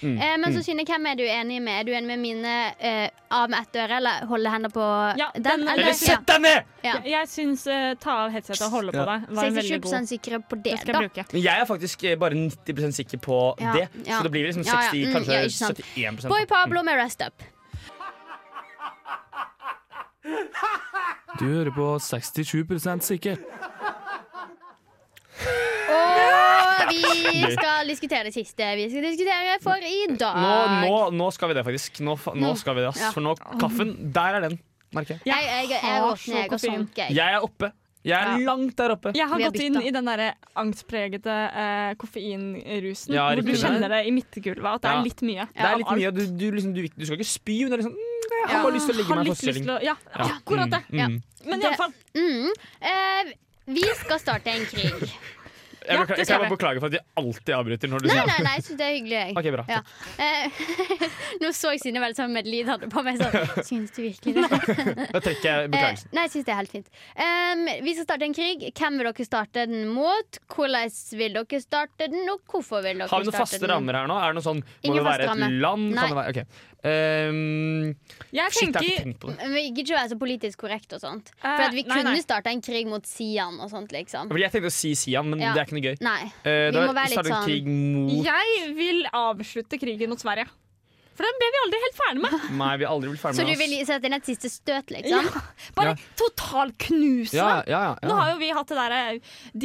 Mm.
Eh, men så Synne, hvem er du enig med? Er du enig med mine eh, av med ett øre, eller holde hender på
Ja,
den?
den er-
eller?
Eller sett deg ned!
Ja.
Jeg- Jeg syns eh, ta av headsetet og holde på
Ja.
deg
Ja.
var en veldig god.
67 sikre på
Det
det,
skal
da.
jeg bruke.
Men jeg er faktisk eh, bare 90 sikker på
Ja,
det,
ja.
så det blir liksom
Ja, ja,
60,
mm,
kanskje
ja, ikke sant.
71
Boy Pablo med Rest Up.
Du hører på 67 sikker.
Og vi skal diskutere det siste vi skal diskutere for i dag.
Nå, nå, nå skal vi det, faktisk. Nå, fa- nå
Nå.
skal vi det, ass.
Ja.
For nå, kaffen, der er den, merker jeg.
Jeg, jeg, jeg,
har
går
så
ned og sånn
koffein.
sanker. Jeg.
Jeg er oppe. Jeg er langt der oppe.
Jeg har
Vi har
gått inn
bytta.
i den der angstpregete eh, koffeinrusen
Ja,
hvor du
riktig.
kjenner det i midtgulvet, at det
Ja.
er litt mye.
Det er litt mye, du, du, liksom, du, du skal ikke spy, men det er liksom mm, Jeg har
Ja.
bare lyst til å ligge
Har
meg på
litt lyst
stilling.
til å Ja,
Ja.
akkurat det.
Mm,
Ja.
mm.
Men
Det-
iallfall
Mm. Eh, vi skal starte en krig.
Jeg, beklager,
det
jeg
skal
kan bare
vi.
beklage for at jeg alltid avbryter når du
Nei,
sier
nei, nei, jeg syns det er hyggelig. Jeg.
OK, bra.
Ja. Eh, nå så jeg Synne veldig sånn medlid hadde på meg. Sånn, syns du virkelig det?
Da trekker jeg
Eh,
beklagelsen.
nei, jeg syns det er helt fint. Em, vi skal starte en krig. Hvem vil dere starte den mot? Hvordan vil dere starte den, og hvorfor vil dere
Har vi noen
starte
faste
den?
rammer her nå? Er det noe sånn, Må
Ingen
det være et
faste rammer.
land?
Nei.
Kan det være, ok Ehm,
Jeg
Shit, jeg har ikke
tenker
tenkt på det.
Men Vi gidder ikke å være så politisk korrekt og sånt. For
Eh,
at vi
nei,
kunne
nei.
starte en krig mot Sian og sånt, liksom.
Fordi jeg tenkte å si Sian, men
Ja.
det er ikke noe gøy.
Nei.
Eh,
Vi
da
må være litt
starter en
sånn-
krig mot
Jeg vil avslutte krigen mot Sverige. For den ble vi aldri helt ferdig med.
meg. Vi har aldri blitt ferdig med
Så du vil sette inn et siste støt, liksom?
Ja.
Bare totalknuse
Ja,
dem.
ja, ja,
Nå har
ja.
jo vi hatt det derre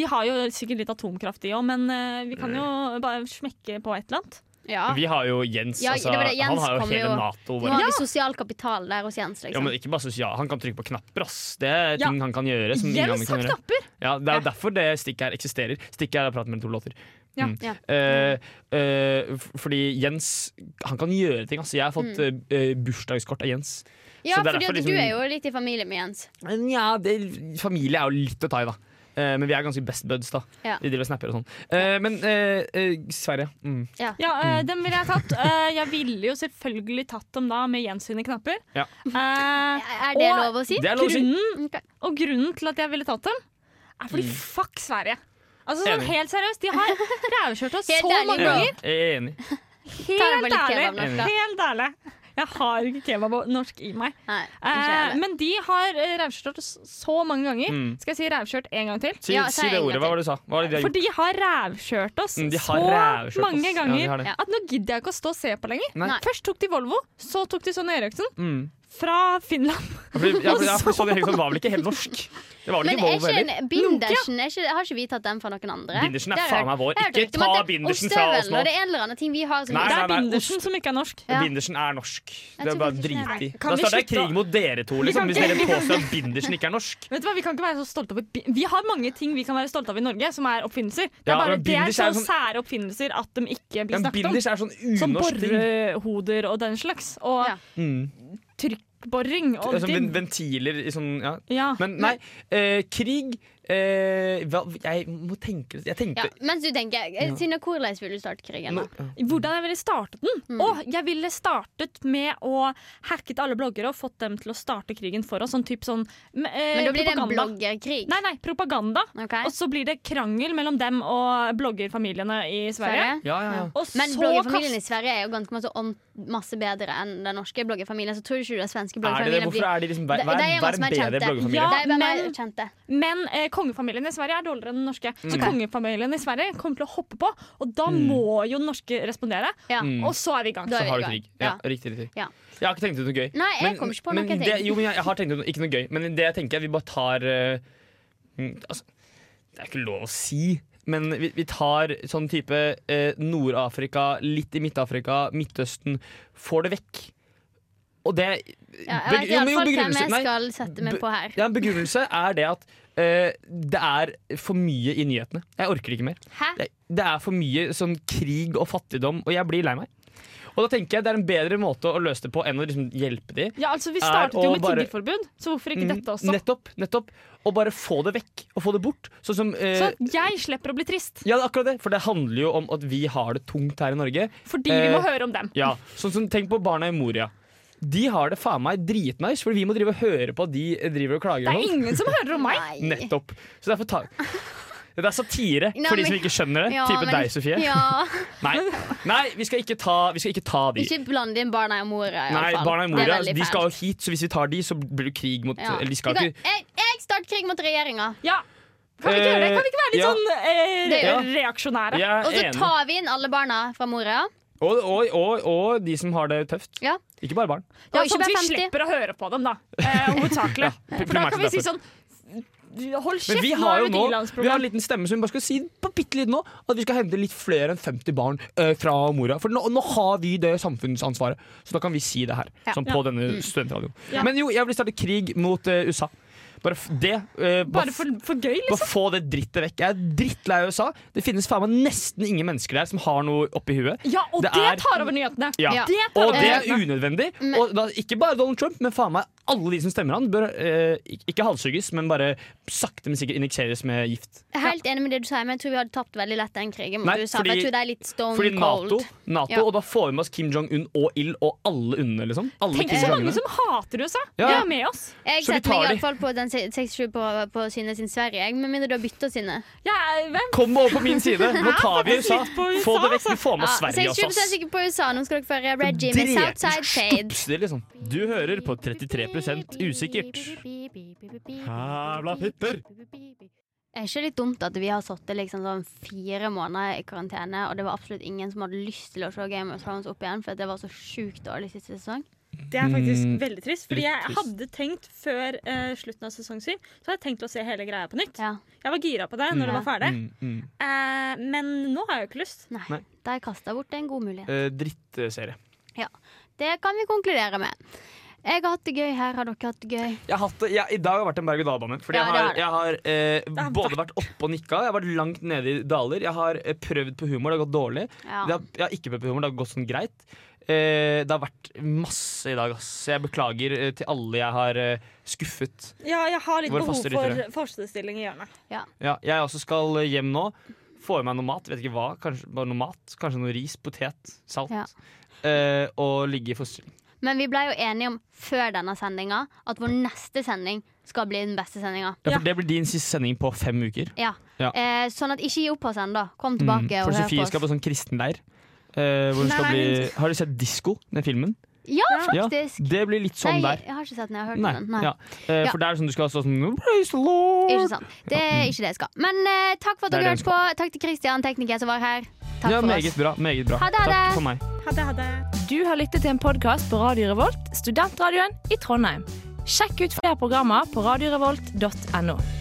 De har jo sikkert litt atomkraft, de òg, men eh, vi
Mm.
kan jo bare smekke på et eller annet.
Ja.
Vi har jo Jens.
Ja,
altså,
det var det.
han
Jens
har jo
kommer
hele
jo-
Nato.
Nå
Bare.
har vi sosial kapital der hos Jens,
Ja,
liksom.
men ikke bare sosial. Han kan trykke på knapper. ass Det er
Ja.
ting han kan gjøre. Som ingen andre
Jens
kan
har
gjøre.
knapper!
Ja, det er jo derfor det stikket her eksisterer. Stikket her er prat mellom to låter.
Ja.
Mm.
Ja.
Eh, eh, f- fordi Jens Han kan gjøre ting. Altså. Jeg har fått eh, eh, bursdagskort av Jens.
Ja,
så det er
fordi
derfor
at
liksom-
du er jo litt i familie med Jens.
Men ja, det, familie er jo litt å ta i, da. Eh, men vi er ganske best buds, da.
Ja.
Vi driver og snapper og sånn. Eh, men eh, eh, Sverige. Mm.
Ja, eh, Dem ville jeg tatt. Eh, jeg ville jo selvfølgelig tatt dem da med Jens sine knapper.
Ja.
Eh,
Er det
Og-
lov å si?
Det er lov å si.
grunnen,
Ok.
og grunnen til at jeg ville tatt dem, er fordi fuck Sverige. Altså sånn
Mm. Enig.
Helt seriøst, de har rævkjørt oss så
Helt ærlig,
mange
bro.
ganger.
Jeg er enig.
Ta deg på
Helt
litt
ærlig.
kebab norsk, da.
Helt ærlig. Jeg har ikke kebab og norsk i meg.
Nei, ikke
Eh,
heller.
men de har eh, rævkjørt oss så mange ganger.
Mm.
Skal jeg si rævkjørt en gang til?
Si,
Ja, så
si
er
det
jeg
ordet. Hva var det du sa? Hva var det de har
For
gjort?
de har rævkjørt oss
Mm, de har
så
rævkjørt oss. Ja,
mange
de
ganger
har det.
Ja.
at nå gidder jeg ikke å stå og se på lenger.
Nei.
Nei.
Først tok de Volvo, så tok de Sonja Eriksen
Mm.
fra Finland.
Ja, for, ja, for, ja, for Sonja Eriksson var vel ikke helt norsk? Det var vel
Men
ikke Volvo
er ikke
heller?
en bindersen er ikke, Har ikke vi tatt den fra noen andre?
Bindersen er
Det har jeg
faen meg vår.
Jeg har hørt
Ikke
rykte om
ta
at det-
bindersen fra oss
ostehøvelen,
nå.
Og det er en eller annen ting vi har som
Nei,
det
nei,
er
nei,
Bindersen som ikke er norsk.
Ja.
Bindersen er norsk. Det
tror
er bare
faktisk det er
drit i.
det. Kan
Da
vi
starter jeg
slutte å-
krig mot dere to,
Vi kan
liksom, hvis dere påstår at bindersen ikke er norsk.
Vet du hva, Vi kan ikke være så stolte over bi- Vi har mange ting vi kan være stolte av i Norge, som er oppfinnelser. Det er,
Ja,
bare,
men
det er
binders
så
er jo sånn-
sære oppfinnelser at de ikke blir
Ja,
snakket om.
binders er sånn
Som
unorsk ting.
borehoder og den slags. Og
Ja.
Mm.
trykkboring og
Sånn
din.
ven- ventiler i sånn ja.
Ja.
Men nei, eh, krig eh, hva, Jeg må tenke Jeg tenkte
Ja, mens du tenker, eh, Sina, hvordan vil du starte krigen?
Nå-
da?
Hvordan jeg ville startet den?
Mm.
Å, jeg ville startet med å hacket alle bloggere og fått dem til å starte krigen for oss. Sånn typ sånn m- eh,
Men da blir det en
propaganda.
bloggerkrig.
Nei, nei, propaganda.
Ok?
Og så blir det krangel mellom dem og bloggerfamiliene i
Sverige?
Sverige.
Ja, ja, ja.
Og så
Men bloggerfamilien i
kast-
Sverige er jo ganske masse, om, masse bedre enn den norske bloggerfamilien. Så tror du ikke den
Er
svenske
det det?
bloggerfamilien
Hvorfor er de liksom Hva er,
Det- det er en
hva er en
som er
bedre
kjente.
bloggerfamilie?
Ja.
Nei, hvem er
Men-
kjente?
Men eh, kongefamilien i Sverige er dårligere enn den norske. Så
Mm.
kongefamilien i Sverige kommer til å hoppe på, og da
Mm.
må jo den norske respondere.
Ja.
Mm.
Og så er vi i gang.
Da
Så
er vi
har du
i gang.
krig. Ja,
Ja.
riktig, riktig.
Ja.
Jeg har ikke tenkt ut noe gøy.
Nei, jeg kommer ikke på
men
noen
det,
ting.
jo, men jeg, jeg har tenkt ut noe, ikke noe gøy, men det jeg tenker er vi bare tar eh, mm, altså, Det er ikke lov å si, men vi, vi tar sånn type eh, Nord-Afrika, litt i Midt-Afrika, Midtøsten. Får det vekk. Og det
Ja,
beg-
jeg vet
jo, men jo,
iallfall hvem
begrunnelse-
jeg
nei,
skal sette meg
be-
på her.
ja, en begrunnelse er det at eh, det er for mye i nyhetene. Jeg orker ikke mer.
Hæ?
Det, det er for mye sånn krig og fattigdom, og jeg blir lei meg. Og da tenker jeg det er en bedre måte å løse det på enn å liksom hjelpe de.
Ja, altså Vi
Er
startet jo
å
med
bare-
tiggerforbud, så hvorfor ikke dette også?
Mm, Nettopp, nettopp. Og bare få det vekk, og få det bort. Sånn som eh,
Så jeg slipper å bli trist,
Ja, det er akkurat det. For det handler jo om at vi har det tungt her i Norge.
fordi vi må
Eh,
høre om dem.
Ja, sånn som Tenk på barna i Moria. De har det faen meg dritnice, for vi må drive og høre på at de driver og klager.
Det
og
er
sånn.
ingen som hører om meg.
Nei.
Nettopp. Så derfor ta Det er satire
Nei,
for de som
men-
ikke skjønner det.
Ja,
type
men-
deg, Sofie.
Ja.
Nei, Nei vi, skal ikke ta, vi skal ikke ta de.
Ikke bland inn barna i Moria,
Nei,
iallfall.
Barna i Moria de skal jo hit, så hvis vi tar de, så blir det krig mot
Ja.
Eller de skal
Vi kan-
ikke
Jeg, jeg starter krig mot regjeringa!
Ja. Kan vi ikke gjøre det? Kan vi ikke være litt
Eh,
sånn eh,
Det
gjør
reaksjonære?
Jeg er
Og så
enig.
tar vi inn alle barna fra Moria.
Og, og, og, og de som har det tøft.
Ja.
Ikke bare barn.
Ja,
Og ikke
sånn at
bare
vi
50.
slipper å høre på dem, da. Eh, Hovedsakelig. For da
primært
kan vi si
derfor.
sånn
Men
Hold kjeft,
vi
nå
har
er
jo
det et
nå Vi har en
i-landsprogram.
liten stemme som vi bare skal si på bitte litt nå at vi skal hente litt flere enn 50 barn eh, fra Moria. For nå, nå har vi det samfunnsansvaret, så da kan vi si det her.
Ja.
Sånn på denne studentradioen.
Mm. Ja.
Men jo, jeg vil starte krig mot eh, USA. Bare f det. eh,
Bare for, for gøy, liksom.
Bare få det drittet vekk. Jeg er drittlei av USA. Det finnes faen meg nesten ingen mennesker der som har noe oppi huet.
Ja, og
Det
det,
er-
tar over nyhetene.
Ja.
Ja.
Det tar
Og
over
det er
nyhetene.
unødvendig. Og da, ikke bare Donald Trump, men faen meg alle de som stemmer han, bør eh, ik- ikke halshugges, men bare sakte, men sikkert injekseres med gift.
Jeg er helt enig med det du sier, men jeg tror vi hadde tapt veldig lett den krigen mot
Nei,
USA. for
fordi-
jeg tror det er litt stone
Fordi Nato,
cold.
NATO
Ja.
og da får vi med oss Kim Jong-un og ild og alle UNNE, liksom. Alle
Tenk
Kim
så mange
Jong-unene.
som hater USA.
Ja.
De er med oss.
Jeg
Så vi
setter meg
tar de.
iallfall på den se- 67 på, på Synne sin Sverige, jeg, med mindre du har bytta Synne.
Jeg er, hvem?
Kom over på min side! Nå tar vi USA!
litt på USA,
Få det vekk! Vi får med
Ja,
oss Sverige
67
også, ass.
sikker på USA. Nå skal dere få høre Reggie med Southside Shade.
liksom. Du hører på 33 usikkert.
Jævla fitter!
Er ikke litt dumt at vi har sittet liksom sånn fire måneder i karantene, og det var absolutt ingen som hadde lyst til å se Game of Thrones opp igjen, for det var så sjukt dårlig siste sesong?
Det er faktisk
Mm,
veldig trist, fordi
litt
jeg
trist.
hadde tenkt før eh, slutten av sesong syv Så hadde jeg tenkt å se hele greia på nytt.
Ja.
Jeg var gira på det når det
Ja.
var ferdig,
Mm, mm.
eh, men nå har jeg jo ikke lyst.
Nei.
Nei.
Da har jeg kasta bort en god mulighet.
Eh, Drittserie.
Det kan vi konkludere med. Jeg har hatt det gøy her. Har dere hatt det gøy?
Jeg har hatt, det- jeg, I dag har vært en berg-og-dal-bane. Fordi
Ja, det har det.
jeg har, jeg har eh,
har
både vært oppe og nikka, jeg har vært langt nede i daler. Jeg har eh, prøvd på humor, det har gått dårlig.
Ja.
Det har, jeg har ikke prøvd på humor, det har gått sånn greit. Eh, det har vært masse i dag, ass. Jeg beklager eh, til alle jeg har eh, skuffet.
Ja, jeg har litt
Vår
behov
faste
for
lyttere.
fosterstilling i hjørnet.
Ja, jeg også skal eh, hjem nå. Få i meg noe mat, vet ikke hva. Kanskje bare noe mat. Kanskje noe ris, potet, salt.
Ja.
Eh, og ligge i fosterstilling.
Men vi ble jo enige om før denne sendinga at vår neste sending skal bli den beste sendinga.
Ja,
Ja.
for det blir din siste sending på fem uker.
Ja.
Ja.
Eh, sånn at ikke gi opp på oss ennå. Kom tilbake
Mm. For
og hør
Sofie
på
skal
oss.
på sånn kristenleir. eh, hvor hun skal
Nei.
bli Har du sett Disko, den filmen?
Ja,
Ja.
faktisk!
Det blir litt sånn
Nei,
der.
jeg har ikke sett den. Jeg har hørt
Nei,
den. Nei.
Ja. Eh,
Ja.
For det er sånn du skal stå sånn Praise the Lord!
Ikke sant. Det er ikke det jeg skal. Men eh, takk for at
Mm. Det er
dere
det
hørte på. Takk til Christian, tekniker, som var her. Takk
ja,
for
meget
oss.
bra. Meget bra.
Ha det, ha det.
Takk for meg.
Ha det, ha det.
Du har lyttet til en podkast på Radio Revolt, studentradioen i Trondheim. Sjekk ut flere programmer på radiorevolt.no.